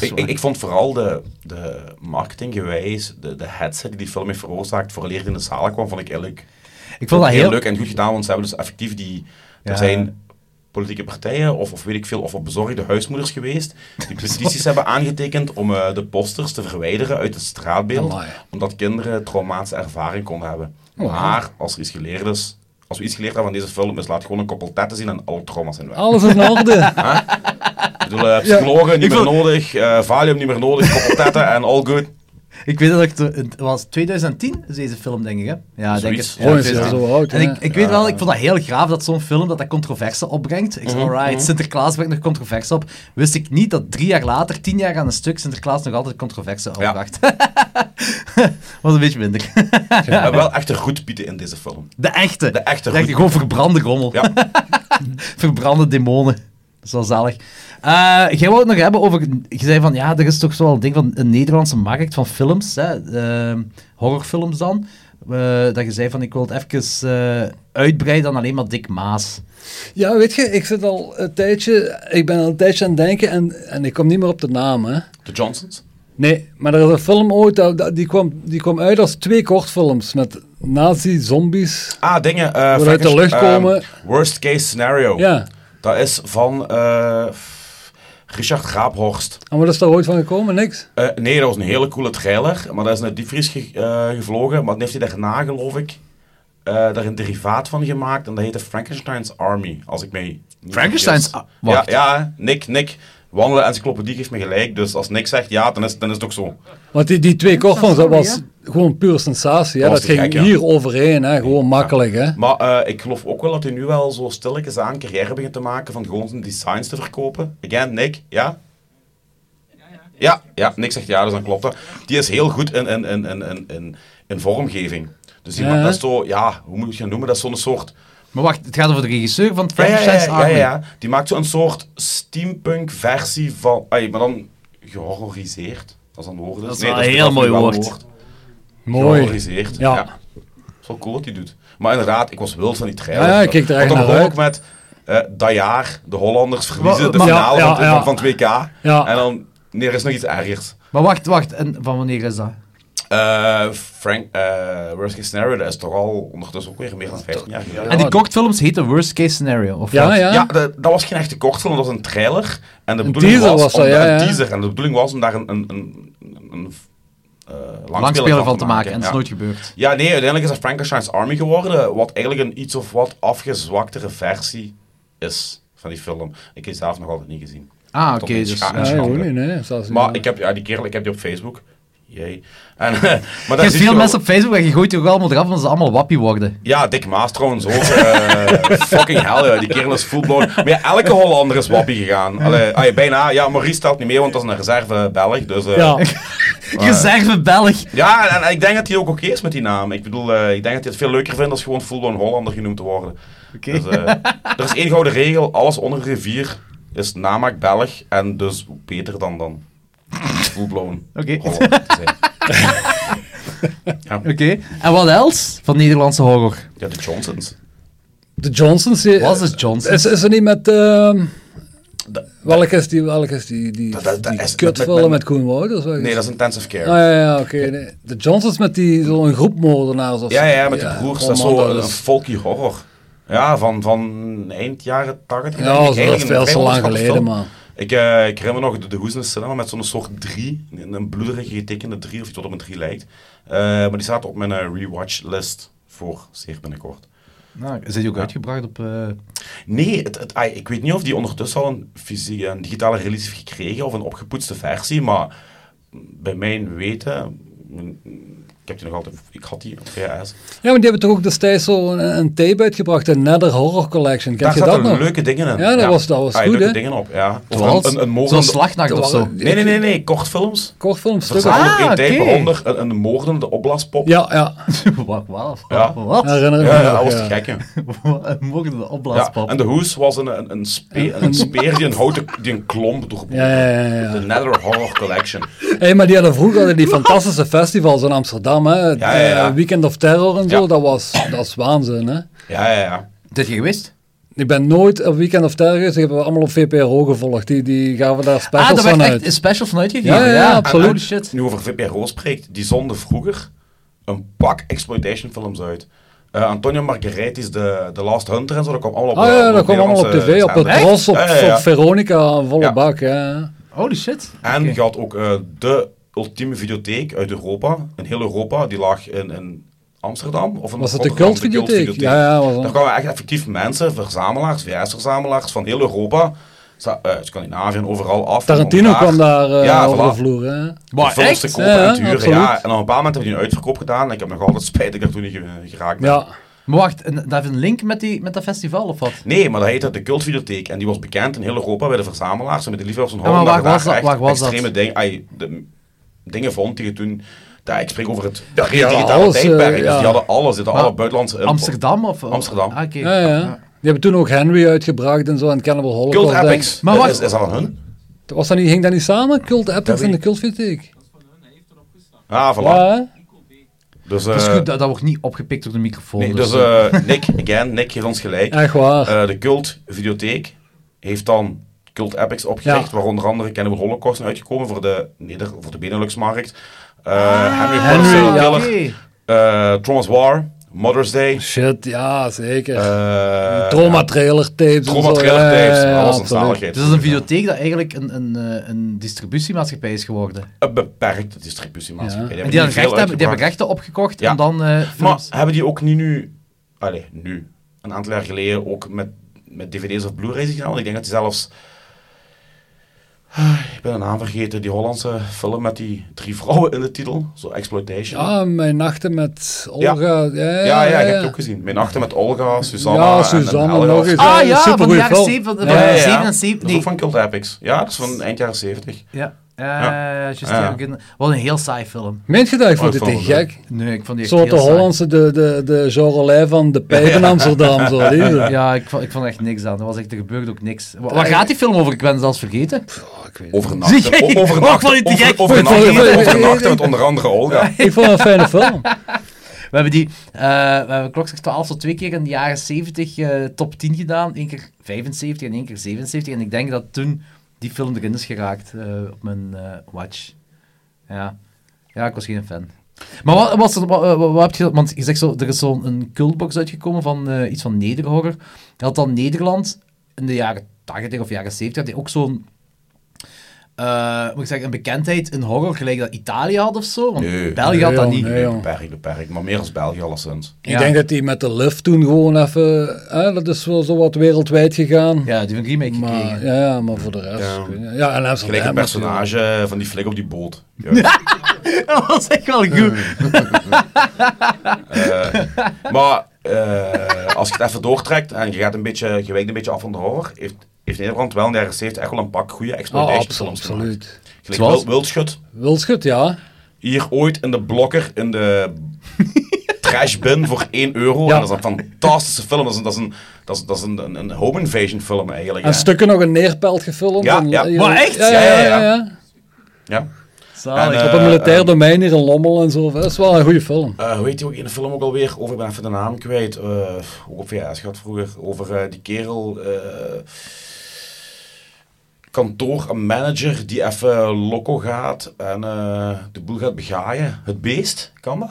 Speaker 4: Ik, ik, ik vond vooral de, de marketinggewijs, de, de headset die die film heeft veroorzaakt voor in de zaal kwam, vond ik eigenlijk
Speaker 3: Ik vond dat
Speaker 4: heel,
Speaker 3: heel...
Speaker 4: leuk en goed gedaan. Want ze hebben dus effectief die...
Speaker 3: Ja.
Speaker 4: Er zijn politieke partijen of, of weet ik veel, of op bezorgde huismoeders geweest, die petities hebben aangetekend om eh, de posters te verwijderen uit het straatbeeld,
Speaker 5: Amai.
Speaker 4: omdat kinderen traumatische ervaring konden hebben. Maar als er iets geleerd is, als we iets geleerd hebben van deze film, is laat gewoon een koppel tetten zien en alle trauma's zijn weg.
Speaker 5: Alles in orde.
Speaker 4: Ik bedoel, eh, psychologen niet
Speaker 3: Ik
Speaker 4: meer
Speaker 3: wil-
Speaker 4: nodig, eh, valium niet meer nodig, koppel tetten en all good.
Speaker 3: Ik weet dat ik... te- Het was 2010, is deze film, denk ik, hè? Ja, ik denk
Speaker 4: Zoiets.
Speaker 3: het.
Speaker 4: Oh, is
Speaker 5: het
Speaker 3: 2010.
Speaker 5: zo oud,
Speaker 3: En
Speaker 5: ja.
Speaker 3: ik, ik weet wel, ik vond dat heel graaf dat zo'n film dat dat controverse opbrengt. Ik zei,
Speaker 5: Mhm,
Speaker 3: alright, Sinterklaas brengt nog controverse op. Wist ik niet dat drie jaar later, tien jaar aan een stuk, Sinterklaas nog altijd controverse
Speaker 4: Ja.
Speaker 3: opbracht. was een beetje minder.
Speaker 4: En wel echte roetpieten in deze film.
Speaker 3: De echte.
Speaker 4: De echte goed.
Speaker 3: gewoon verbrande rommel.
Speaker 4: Ja.
Speaker 3: verbrande demonen. Dat is wel zalig. Eh, jij wou het nog hebben over... Je zei van, ja, er is toch zo'n ding van een Nederlandse markt van films, hè, eh, horrorfilms dan. eh, dat je zei van, ik wil het even eh, uitbreiden aan alleen maar Dick Maas.
Speaker 5: Ja, weet je, ik zit al een tijdje, ik ben al een tijdje aan het denken en, en ik kom niet meer op de naam, hè.
Speaker 4: De Johnsons.
Speaker 5: Nee, maar er is een film ooit, dat- dat- die kwam, die kwam uit als twee kortfilms met nazi-zombies.
Speaker 4: Ah, dingen. eh,
Speaker 5: de
Speaker 4: Frankers,
Speaker 5: lucht
Speaker 4: ehm,
Speaker 5: komen.
Speaker 4: worst case scenario.
Speaker 5: Ja,
Speaker 4: Dat is van eh, Richard Graaphorst.
Speaker 5: en wat is daar ooit van gekomen? Niks.
Speaker 4: Eh, nee, dat was een hele coole trailer. Maar dat is naar het diepvries ge- eh, gevlogen. Maar dan heeft hij daarna, geloof ik, eh, daar een derivaat van gemaakt. En dat heette Frankenstein's Army, als ik mij niet
Speaker 3: Frankenstein's
Speaker 4: vergis.
Speaker 3: Ar- wacht.
Speaker 4: Ja, ja, Nick, Nick. Wandelen encyclopedie geeft me gelijk. Dus als Nick zegt ja, dan is, dan is het ook zo.
Speaker 5: Want die, die twee kortfilms, dat
Speaker 3: sorry,
Speaker 5: was gewoon puur sensatie. Hè?
Speaker 4: Dat
Speaker 5: Dat
Speaker 4: was te
Speaker 5: ging
Speaker 4: gek, ja.
Speaker 5: hier overheen, hè? gewoon makkelijk. Hè?
Speaker 4: Maar eh, ik geloof ook wel dat hij nu wel zo stilletjes aan carrière begint te maken van gewoon zijn designs te verkopen. Again, Nick, ja? Ja, ja, Nick zegt ja, dus dan klopt dat. Die is heel goed in, in, in, in, in, in, in vormgeving. Dus die
Speaker 5: Ja,
Speaker 4: maakt
Speaker 5: hè?
Speaker 4: dat is zo, ja, hoe moet je het noemen? Dat is zo'n soort...
Speaker 3: Maar wacht, het gaat over de regisseur van
Speaker 4: Ja, ja, ja,
Speaker 3: Frankenstein's
Speaker 4: ja,
Speaker 3: Army.
Speaker 4: ja, ja. Die maakt zo'n soort steampunk versie van... Ai, maar dan gehorroriseerd. Dat is dan woord.
Speaker 3: Dat is wel een heel mooi woord.
Speaker 5: Mooi.
Speaker 4: Gehorroriseerd,
Speaker 5: Ja.
Speaker 4: ja. Dat is wel cool wat hij doet. Maar inderdaad, ik was wild van die trailer.
Speaker 5: Ja, ja, ik keek er
Speaker 4: Want
Speaker 5: echt
Speaker 4: dan
Speaker 5: naar
Speaker 4: begon
Speaker 5: uit.
Speaker 4: ook met eh dat jaar, de Hollanders
Speaker 3: Wa-
Speaker 4: verliezen de
Speaker 3: maar-
Speaker 4: finale
Speaker 5: Ja,
Speaker 4: van,
Speaker 5: ja,
Speaker 4: van, van het WK.
Speaker 5: Ja.
Speaker 4: En dan, nee, er is nog iets ergers.
Speaker 3: Maar wacht, wacht. En van wanneer is dat?
Speaker 4: Eh, Frank, eh Worst Case Scenario, dat is toch al ondertussen ook weer meer dan 15 jaar geleden.
Speaker 3: En die kortfilms heten Worst Case Scenario, of
Speaker 5: Ja,
Speaker 3: wat?
Speaker 5: ja.
Speaker 4: Ja, dat, dat was geen echte kortfilm, dat was een trailer. En de bedoeling
Speaker 5: teaser
Speaker 4: was,
Speaker 5: was dat,
Speaker 4: om,
Speaker 5: ja,
Speaker 4: een
Speaker 5: ja.
Speaker 4: teaser. En de bedoeling was om daar een, een, een, een, een eh, langspeler,
Speaker 3: Langspeler van te maken. En dat
Speaker 4: ja.
Speaker 3: is nooit gebeurd.
Speaker 4: Ja, nee, uiteindelijk is dat Frankenstein's Army geworden, wat eigenlijk een iets of wat afgezwaktere versie is van die film. Ik heb die zelf nog altijd niet gezien.
Speaker 3: Ah,
Speaker 4: Toch
Speaker 3: oké.
Speaker 4: iets
Speaker 3: dus,
Speaker 4: scha-
Speaker 3: ja.
Speaker 5: Ja,
Speaker 4: schande.
Speaker 5: gewoon niet, nee. zelfs niet.
Speaker 4: Maar ik heb, ja, die kerel, ik heb die op Facebook. Jee. En, eh, maar
Speaker 3: Er
Speaker 4: daar
Speaker 3: zijn
Speaker 4: zie je
Speaker 3: veel
Speaker 4: wel-
Speaker 3: mensen op Facebook en je gooit toch allemaal eraf omdat ze allemaal wappie worden.
Speaker 4: Ja, Dick Maas trouwens ook. eh, fucking hell, ja. die kerel is fullblown. Maar ja, elke Hollander is wappie gegaan. Allee, ah, ja, bijna. Ja, Maurice telt niet mee, want dat is een reserve Belg. Dus, eh,
Speaker 5: Ja.
Speaker 4: Ah.
Speaker 3: Reserve Belg.
Speaker 4: ja, en, en ik denk dat hij ook oké is met die naam. Ik bedoel, eh, ik denk dat hij het veel leuker vindt als gewoon fullblown Hollander genoemd te worden.
Speaker 3: Oké.
Speaker 4: Dus, eh, er is één gouden regel, alles onder een rivier is namaak Belg en dus beter dan dan fullblown
Speaker 3: Oké.
Speaker 4: Hollander te zijn.
Speaker 3: Oké. En wat else van Nederlandse horror?
Speaker 4: Ja, de Johnsons.
Speaker 5: De Johnsons. die-
Speaker 3: Was het Johnson?
Speaker 5: Is, is er niet met... ehm welke is die, welke is die, die,
Speaker 4: Dat- dat- dat
Speaker 5: die
Speaker 4: is-
Speaker 5: kutfilm
Speaker 4: met-
Speaker 5: met,
Speaker 4: met-
Speaker 5: Koen Wouters? Welke
Speaker 4: Nee, dat is intensive care.
Speaker 5: Ah, ja, ja, oké. nee. De Johnsons met die zo'n groep moordenaars of
Speaker 4: Ja,
Speaker 5: zo.
Speaker 4: ja, ja, met de broers.
Speaker 5: oh
Speaker 4: dat is
Speaker 5: man,
Speaker 4: zo eh.
Speaker 5: dat
Speaker 4: een
Speaker 5: is-
Speaker 4: folky horror. Ja, van, van eind jaren 80.
Speaker 5: Ja,
Speaker 4: denk ik,
Speaker 5: dat is
Speaker 4: eigenlijk een
Speaker 5: veel te
Speaker 4: vrij
Speaker 5: lang
Speaker 4: onderschatte
Speaker 5: geleden,
Speaker 4: film.
Speaker 5: man.
Speaker 4: Ik, eh, ik herinner me nog de, de Hoes in de Cinema met zo'n soort drie. Een, een bloederig getekende drie, of iets wat op een drie lijkt. Eh, maar die staat op mijn eh, rewatch list voor zeer binnenkort.
Speaker 3: Nou, zijn die ook uitgebracht op... eh,
Speaker 4: Nee, het, het, ai, ik weet niet of die ondertussen al een, fysie, een digitale release heeft gekregen of een opgepoetste versie, maar bij mijn weten, mm, ik heb die nog altijd, ik had die op VHS.
Speaker 5: Ja, maar die hebben toch ook destijds zo een, een tape uitgebracht, de Nether Horror Collection. Kent je
Speaker 4: Daar
Speaker 5: dat
Speaker 4: zaten
Speaker 5: nog?
Speaker 4: leuke dingen in.
Speaker 5: Ja, dat was- dat was
Speaker 4: Ah,
Speaker 5: goed,
Speaker 4: leuke
Speaker 5: hè?
Speaker 4: dingen op, ja. Of
Speaker 3: zoals-
Speaker 4: een, een, een
Speaker 3: Zo'n
Speaker 4: moordende...
Speaker 3: slachtnacht
Speaker 5: dat
Speaker 3: of zo.
Speaker 5: waren-
Speaker 4: Nee, nee, nee, nee, kortfilms.
Speaker 5: Kortfilmstukken.
Speaker 4: Verzameld
Speaker 3: Ah,
Speaker 4: één tape,
Speaker 3: oké.
Speaker 4: waaronder een, een moordende opblaaspop.
Speaker 5: Ja, ja.
Speaker 3: wat? Wat?
Speaker 4: Ja.
Speaker 3: Wat?
Speaker 5: Herinner ik
Speaker 4: Ja,
Speaker 5: me
Speaker 4: ja, dat
Speaker 5: nog,
Speaker 4: was te
Speaker 5: ja.
Speaker 4: gek, hè.
Speaker 3: Mogen de
Speaker 4: ja.
Speaker 3: opblaaspap.
Speaker 4: En de hoes was een, een, een, spe- een speer die een houten die een klomp doorboorde.
Speaker 5: Ja, ja, ja, ja.
Speaker 4: De Nether Horror Collection.
Speaker 5: Hé, maar die hadden vroeger hadden die fantastische festivals in Amsterdam, hè. Het,
Speaker 4: Ja, ja, ja.
Speaker 5: eh, Weekend of Terror en zo,
Speaker 4: Ja.
Speaker 5: dat, was, dat was waanzin, hè.
Speaker 4: Ja, ja, ja.
Speaker 3: Dit je gewist?
Speaker 5: Ik ben nooit op Weekend of Terror geweest, ik heb het allemaal op VPRO gevolgd. Die, die gaven daar
Speaker 3: Ah,
Speaker 5: specials
Speaker 3: daar
Speaker 5: van
Speaker 3: werd
Speaker 5: uit.
Speaker 3: echt specials van uitgegeven.
Speaker 5: Ja, ja, ja, absoluut.
Speaker 3: Holy shit.
Speaker 4: Nu over VPRO spreekt, die zonden vroeger een pak exploitation films uit. Eh, Antonio Margaritis, de, de Last Hunter en zo, dat kwam allemaal op
Speaker 5: Ah
Speaker 4: eh,
Speaker 5: ja, dat kwam allemaal op
Speaker 4: Nederlandse
Speaker 5: tv, op het
Speaker 4: zenders.
Speaker 5: Ros, op,
Speaker 4: Ja, ja, ja.
Speaker 5: op Veronica, volle
Speaker 4: Ja.
Speaker 5: bak, ja.
Speaker 3: Holy shit.
Speaker 4: En
Speaker 3: Oké.
Speaker 4: je had ook eh, de ultieme videotheek uit Europa, in heel Europa, die lag in, in Amsterdam. Of in
Speaker 5: Was dat de
Speaker 4: Rotterdam,
Speaker 5: cultvideotheek? Ja, ja, was dat.
Speaker 4: Daar kwamen echt effectief mensen, verzamelaars, VS-verzamelaars van heel Europa, Sta- eh, Scandinavië en overal af.
Speaker 5: Tarantino
Speaker 4: En dan
Speaker 5: kwam daar eh,
Speaker 4: Ja,
Speaker 5: over
Speaker 4: voilà.
Speaker 5: de vloer. Hè?
Speaker 4: De films te
Speaker 3: echt?
Speaker 4: koop
Speaker 5: Ja,
Speaker 4: en te huren,
Speaker 5: absoluut.
Speaker 4: ja. En op een bepaald moment hebben die een uitverkoop gedaan. En ik heb nog altijd spijt dat ik daar toen niet ge- geraakt ben.
Speaker 5: Ja,
Speaker 3: eh, Maar wacht, en dat heeft een link met, die, met dat festival of wat?
Speaker 4: Nee, maar dat heette de Cultvideotheek. En die was bekend in heel Europa bij de verzamelaars en bij de liefhebbers van
Speaker 3: Ja, maar
Speaker 4: Holland.
Speaker 3: waar
Speaker 4: je
Speaker 3: was
Speaker 4: daar
Speaker 3: dat?
Speaker 4: echt
Speaker 3: Waar was dat?
Speaker 4: extreme dingen, ai, de, dingen vond die je toen... Ja, ik spreek over het
Speaker 5: die hadden
Speaker 4: digitale
Speaker 5: alles, eh,
Speaker 4: tijdperk. dus
Speaker 5: ja.
Speaker 4: die hadden alles. Die hadden
Speaker 3: Maar
Speaker 4: alle buitenlandse... eh, import.
Speaker 3: Amsterdam of? of-
Speaker 4: Amsterdam.
Speaker 3: Ah, oké.
Speaker 5: ja, ja. Die hebben toen ook Henry uitgebracht en zo en Cannibal Holocaust.
Speaker 4: Cult
Speaker 5: denk ik.
Speaker 4: Epics.
Speaker 3: Maar
Speaker 4: Dat
Speaker 3: wacht.
Speaker 4: Is, is dat aan hun?
Speaker 5: Was dat niet, ging dat niet samen? Cult Epics
Speaker 4: weet
Speaker 5: en de
Speaker 4: ik.
Speaker 5: Cult Critique.
Speaker 4: Ja, voilà.
Speaker 5: Ja, hè?
Speaker 4: Dus,
Speaker 3: Dat is
Speaker 4: eh,
Speaker 3: goed, dat, dat wordt niet opgepikt door de microfoon.
Speaker 4: nee, dus
Speaker 3: eh,
Speaker 4: eh, Nick, again, Nick geeft ons gelijk.
Speaker 5: echt waar.
Speaker 4: Eh, de Cult Videotheek heeft dan Cult Epics opgericht,
Speaker 5: Ja.
Speaker 4: waar onder andere Cannibal Holocaust is uitgekomen voor de, Neder voor de Benelux-markt. Eh, Henry
Speaker 3: ah,
Speaker 4: Potter,
Speaker 5: Henry,
Speaker 4: Serial
Speaker 5: ja.
Speaker 3: oké.
Speaker 4: Killer, eh, Trauma's War, Mother's Day,
Speaker 5: Shit, ja, zeker.
Speaker 4: eh
Speaker 5: Trauma trailer tapes. en
Speaker 4: Trauma
Speaker 5: zo,
Speaker 4: Trailer
Speaker 5: ja,
Speaker 4: Tapes,
Speaker 5: ja, ja,
Speaker 4: alles een
Speaker 5: absoluut.
Speaker 4: zaligheid.
Speaker 3: Dus dat is een videotheek dat eigenlijk een, een, eh, een distributiemaatschappij is geworden.
Speaker 4: Een beperkte distributiemaatschappij.
Speaker 5: Ja.
Speaker 3: En die, dan
Speaker 4: niet veel
Speaker 3: rechten hebben, die hebben
Speaker 4: uitgebracht.
Speaker 3: rechten opgekocht
Speaker 4: Ja.
Speaker 3: en dan eh,
Speaker 4: Maar
Speaker 3: films.
Speaker 4: hebben die ook niet nu, allee, nu, een aantal jaar geleden ook met, met dvd's of blu-rays gedaan? Want ik denk dat die zelfs, Ah, ik ben de naam vergeten, die Hollandse film met die drie vrouwen in de titel, zo Exploitation.
Speaker 5: Ja, mijn nachten met Olga. Ja, Ah, ja,
Speaker 4: ja, ja, ik
Speaker 5: ja.
Speaker 4: heb het ook gezien. Mijn nachten met Olga, Susanna
Speaker 5: Ja,
Speaker 4: en- en
Speaker 5: Susanna
Speaker 4: Helga.
Speaker 5: nog eens.
Speaker 4: Ah,
Speaker 3: Ah
Speaker 5: een
Speaker 3: ja, van de
Speaker 5: supergoeie
Speaker 3: jaren
Speaker 5: film.
Speaker 3: 70.
Speaker 5: Ja,
Speaker 3: van
Speaker 5: ja,
Speaker 3: de
Speaker 5: ja.
Speaker 3: 77.
Speaker 4: Dat is ook
Speaker 3: nee.
Speaker 4: van Cult Epics. Ja, dat is van eind jaren 70.
Speaker 3: Ja, eh,
Speaker 4: Ja.
Speaker 3: juist,
Speaker 4: Ja.
Speaker 3: ja, ik- Wat een heel saai film.
Speaker 5: Meent je dat? Ik vond
Speaker 4: ik
Speaker 5: dit
Speaker 4: vond
Speaker 5: echt
Speaker 4: het leuk.
Speaker 5: gek.
Speaker 3: Nee, ik vond die
Speaker 5: Een
Speaker 3: echt
Speaker 5: soort de
Speaker 3: heel saai.
Speaker 5: Hollandse, de, de, de Jean Rollet van de Pijp in Amsterdam. Zo, die,
Speaker 3: Ja, ik vond, ik vond er echt niks aan. Er, was echt, er gebeurde ook niks.
Speaker 5: Eh,
Speaker 3: Wa- Waar, gaat die film over? Ik ben het zelfs vergeten.
Speaker 4: Overnachten.
Speaker 3: Zie jij?
Speaker 4: O-
Speaker 3: Ook van die te gek.
Speaker 4: Overnachten. Overnachten
Speaker 5: Vond je-
Speaker 4: met- Overnachten met onder andere Olga.
Speaker 5: Ik vond het een fijne film.
Speaker 3: We hebben die, eh we hebben klokslag 12 tot twee keer in de jaren 70 eh, top 10 gedaan. Eén keer 75 en één keer 77. En ik denk dat toen die film erin is geraakt eh, op mijn eh, watch. Ja. ja, ik was geen fan. Maar wat, was er, wat, eh, wat- wat heb je... Want je zegt zo, er is zo'n cultbox uitgekomen van eh, iets van Nederhorror. Dat dan Nederland in de jaren 80 of jaren 70 had die ook zo'n... eh, moet ik zeggen, een bekendheid in horror, gelijk dat Italië had of zo. Want
Speaker 4: Nee.
Speaker 3: België had
Speaker 5: Nee,
Speaker 3: dat
Speaker 5: jong,
Speaker 3: niet.
Speaker 5: nee, jong.
Speaker 4: Beperkt, beperkt. Maar meer als België alleszins.
Speaker 3: Ja.
Speaker 5: Ik denk dat die met de Luft toen gewoon even... Hè, dat is wel zo wat wereldwijd gegaan.
Speaker 3: Ja, die hebben een remake
Speaker 5: maar,
Speaker 3: gekregen.
Speaker 5: ja, ja, maar voor de rest...
Speaker 4: Ja.
Speaker 5: ik weet niet. Ja, en Amsterdam
Speaker 4: Gelijk een
Speaker 5: natuurlijk.
Speaker 4: personage van die flik op die boot. Juist.
Speaker 3: Dat was echt wel goed.
Speaker 4: Maar eh, als je het even doortrekt en je, gaat een beetje, je wijkt een beetje af van de horror, heeft, heeft Nederland wel in de jaren 70 echt wel een pak goede
Speaker 5: Ah,
Speaker 4: exploitation
Speaker 5: absoluut. absoluut.
Speaker 4: Gelijk
Speaker 3: Zoals?
Speaker 4: Wild- Wildschut.
Speaker 5: Wildschut, ja.
Speaker 4: Hier ooit in de blokker, in de trash bin voor 1 euro.
Speaker 5: Ja.
Speaker 4: En dat is een fantastische film. Dat is een, dat is een, dat is, dat is een, een, een home invasion film eigenlijk.
Speaker 5: En
Speaker 4: hè.
Speaker 5: stukken nog een neerpelt gefilmd.
Speaker 4: Ja,
Speaker 5: en,
Speaker 4: ja.
Speaker 3: Maar echt?
Speaker 5: Ja, ja, ja.
Speaker 4: Ja, ja,
Speaker 5: ja,
Speaker 4: ja. Ja. En,
Speaker 3: Zalig.
Speaker 4: eh,
Speaker 5: Op een militair
Speaker 4: eh,
Speaker 5: domein hier in Lommel en zo. Dat is wel een goede film.
Speaker 4: Eh, hoe heet die ook in de film ook alweer? Over, ik ben even de naam kwijt. Eh, ook op VHS gehad vroeger. Over eh, die kerel. eh kantoor, een manager die even loco gaat en eh, de boel gaat begaaien. Het beest, kan dat?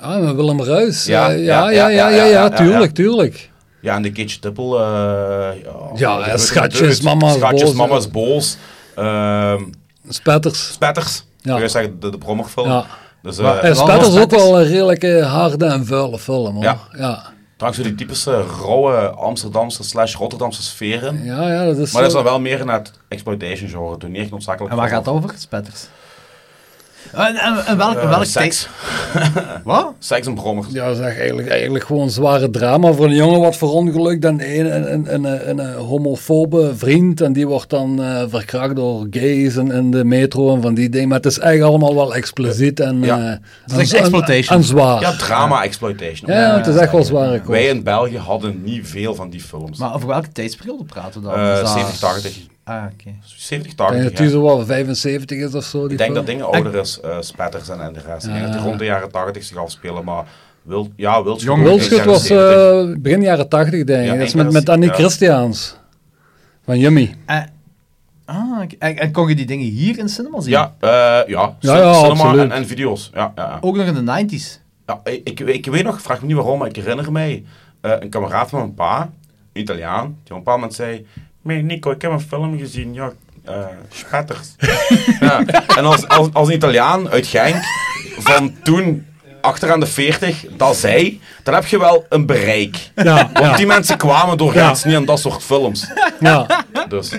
Speaker 5: Ah, met Willem Ruis.
Speaker 4: Ja,
Speaker 5: Ja, Eh, ja, ja, ja, ja,
Speaker 4: ja, ja,
Speaker 5: tuurlijk, tuurlijk.
Speaker 4: Ja, en de Keetje Tippel. eh,
Speaker 5: Ja,
Speaker 4: ja,
Speaker 5: eh, Schatjes, Mama is
Speaker 4: Schatjes,
Speaker 5: boos,
Speaker 4: Mama
Speaker 5: ja.
Speaker 4: is boos. Ehm,
Speaker 5: Spetters.
Speaker 4: Spetters.
Speaker 5: Ja.
Speaker 4: Ja. Ik zeggen, de, de Brommerfilm.
Speaker 5: Ja.
Speaker 4: Dus, eh
Speaker 3: Maar-
Speaker 5: Eh,
Speaker 4: ja.
Speaker 5: Spetters is ook
Speaker 3: Spetters.
Speaker 5: wel een redelijke harde en vuile film, hoor.
Speaker 4: Ja.
Speaker 5: Ja, ja,
Speaker 4: dankzij die typische eh, rauwe Amsterdamse slash Rotterdamse sferen.
Speaker 5: ja, dat is...
Speaker 4: Maar dat is
Speaker 5: zo-
Speaker 4: dan wel meer naar het exploitation genre. Toen niet echt noodzakelijk.
Speaker 3: en waar gaat het over? Spetters. En, en, en welk,
Speaker 4: Eh,
Speaker 3: welk
Speaker 4: seks.
Speaker 3: tijd- Wat?
Speaker 4: Seks en brommers.
Speaker 5: Ja, dat is echt eigenlijk, eigenlijk gewoon een zware drama voor een jongen wat verongelukt en een, een, een, een, een, eh, homofobe vriend en die wordt dan eh, verkracht door gays en, en de metro en van die dingen. Maar het is echt allemaal wel expliciet en,
Speaker 4: Ja.
Speaker 5: eh,
Speaker 4: Het
Speaker 3: is
Speaker 5: en,
Speaker 3: echt
Speaker 5: zo- en-
Speaker 3: exploitation.
Speaker 5: en zwaar.
Speaker 4: Ja, drama exploitation.
Speaker 5: Ja, ja, het is echt wel zware
Speaker 4: Wij
Speaker 5: kost.
Speaker 4: in België hadden niet veel van die films.
Speaker 3: Maar over welke tijdsperiode praten we dan?
Speaker 4: Eh,
Speaker 3: Is dat-
Speaker 4: 70, 80.
Speaker 3: Ah, oké.
Speaker 4: 70,
Speaker 5: Ik denk
Speaker 4: 80.
Speaker 5: dat die
Speaker 4: ja.
Speaker 5: zo wel 75 is of zo. Die
Speaker 4: Ik denk dat
Speaker 5: film.
Speaker 4: dingen ouder is, eh spetters en, en de rest. Ik denk dat die rond de jaren 80 zich afspelen, maar Wild, ja, Wildschut.
Speaker 3: Jong
Speaker 4: ook in de
Speaker 5: Wildschut
Speaker 4: jaren
Speaker 5: was
Speaker 4: 70.
Speaker 5: eh, begin jaren 80, denk ik.
Speaker 4: Ja,
Speaker 5: dat is
Speaker 4: ik denk
Speaker 5: met,
Speaker 4: dat-
Speaker 5: met Annie
Speaker 4: ja.
Speaker 5: Christiaans. Van Yummy.
Speaker 3: En- Eh, ah, oké. en, en kon je die dingen hier in cinema zien?
Speaker 4: Ja, eh, ja.
Speaker 5: Ja,
Speaker 4: Cin-
Speaker 5: ja,
Speaker 4: cinema
Speaker 5: absoluut.
Speaker 4: en, en video's. Ja, ja, ja.
Speaker 3: Ook nog in de 90s.
Speaker 4: Ja, ik, Nou, ik- ik weet nog, vraag me niet waarom, maar ik herinner mij eh, een kameraad van mijn pa, een Italiaan, die op een bepaald moment zei: Nee, Nico, ik heb een film gezien, ja, eh spetters. ja. En als, als, als een Italiaan uit Genk van toen achteraan de 40 dat zei, dan heb je wel een bereik.
Speaker 5: Ja,
Speaker 4: Want die mensen kwamen doorgaans niet aan dat soort films.
Speaker 5: ja.
Speaker 4: Dus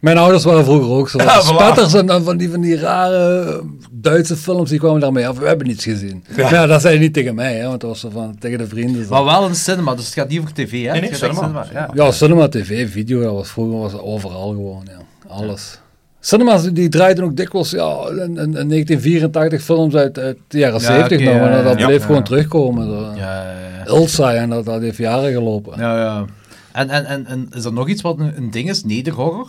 Speaker 5: Mijn ouders waren vroeger ook zo.
Speaker 4: Ja, voilà.
Speaker 5: Spetters en dan van die, van die rare Duitse films, die kwamen daarmee af. We hebben niets gezien. Ja, dat zei je niet tegen mij, hè, want dat was zo van, tegen de vrienden. zo.
Speaker 3: Maar wel een cinema, dus het gaat niet over tv, hè?
Speaker 4: Nee, nee,
Speaker 3: Het gaat echt
Speaker 4: cinema.
Speaker 3: Ja.
Speaker 5: Ja, cinema, tv, video, dat was vroeger was dat overal gewoon, ja. Alles. Cinema's die- die draaiden ook dikwijls ja, een, een, een 1984 films uit, uit de jaren
Speaker 3: Ja,
Speaker 5: 70
Speaker 3: oké,
Speaker 5: nog, maar
Speaker 3: ja,
Speaker 5: dat, dat
Speaker 4: ja.
Speaker 5: bleef
Speaker 4: Ja.
Speaker 5: gewoon terugkomen. zo.
Speaker 3: Ja, ja, ja.
Speaker 5: Ilsa, en dat, dat heeft jaren gelopen.
Speaker 3: ja, ja. En, en, en, en is er nog iets wat een, een ding is? Nederhorror?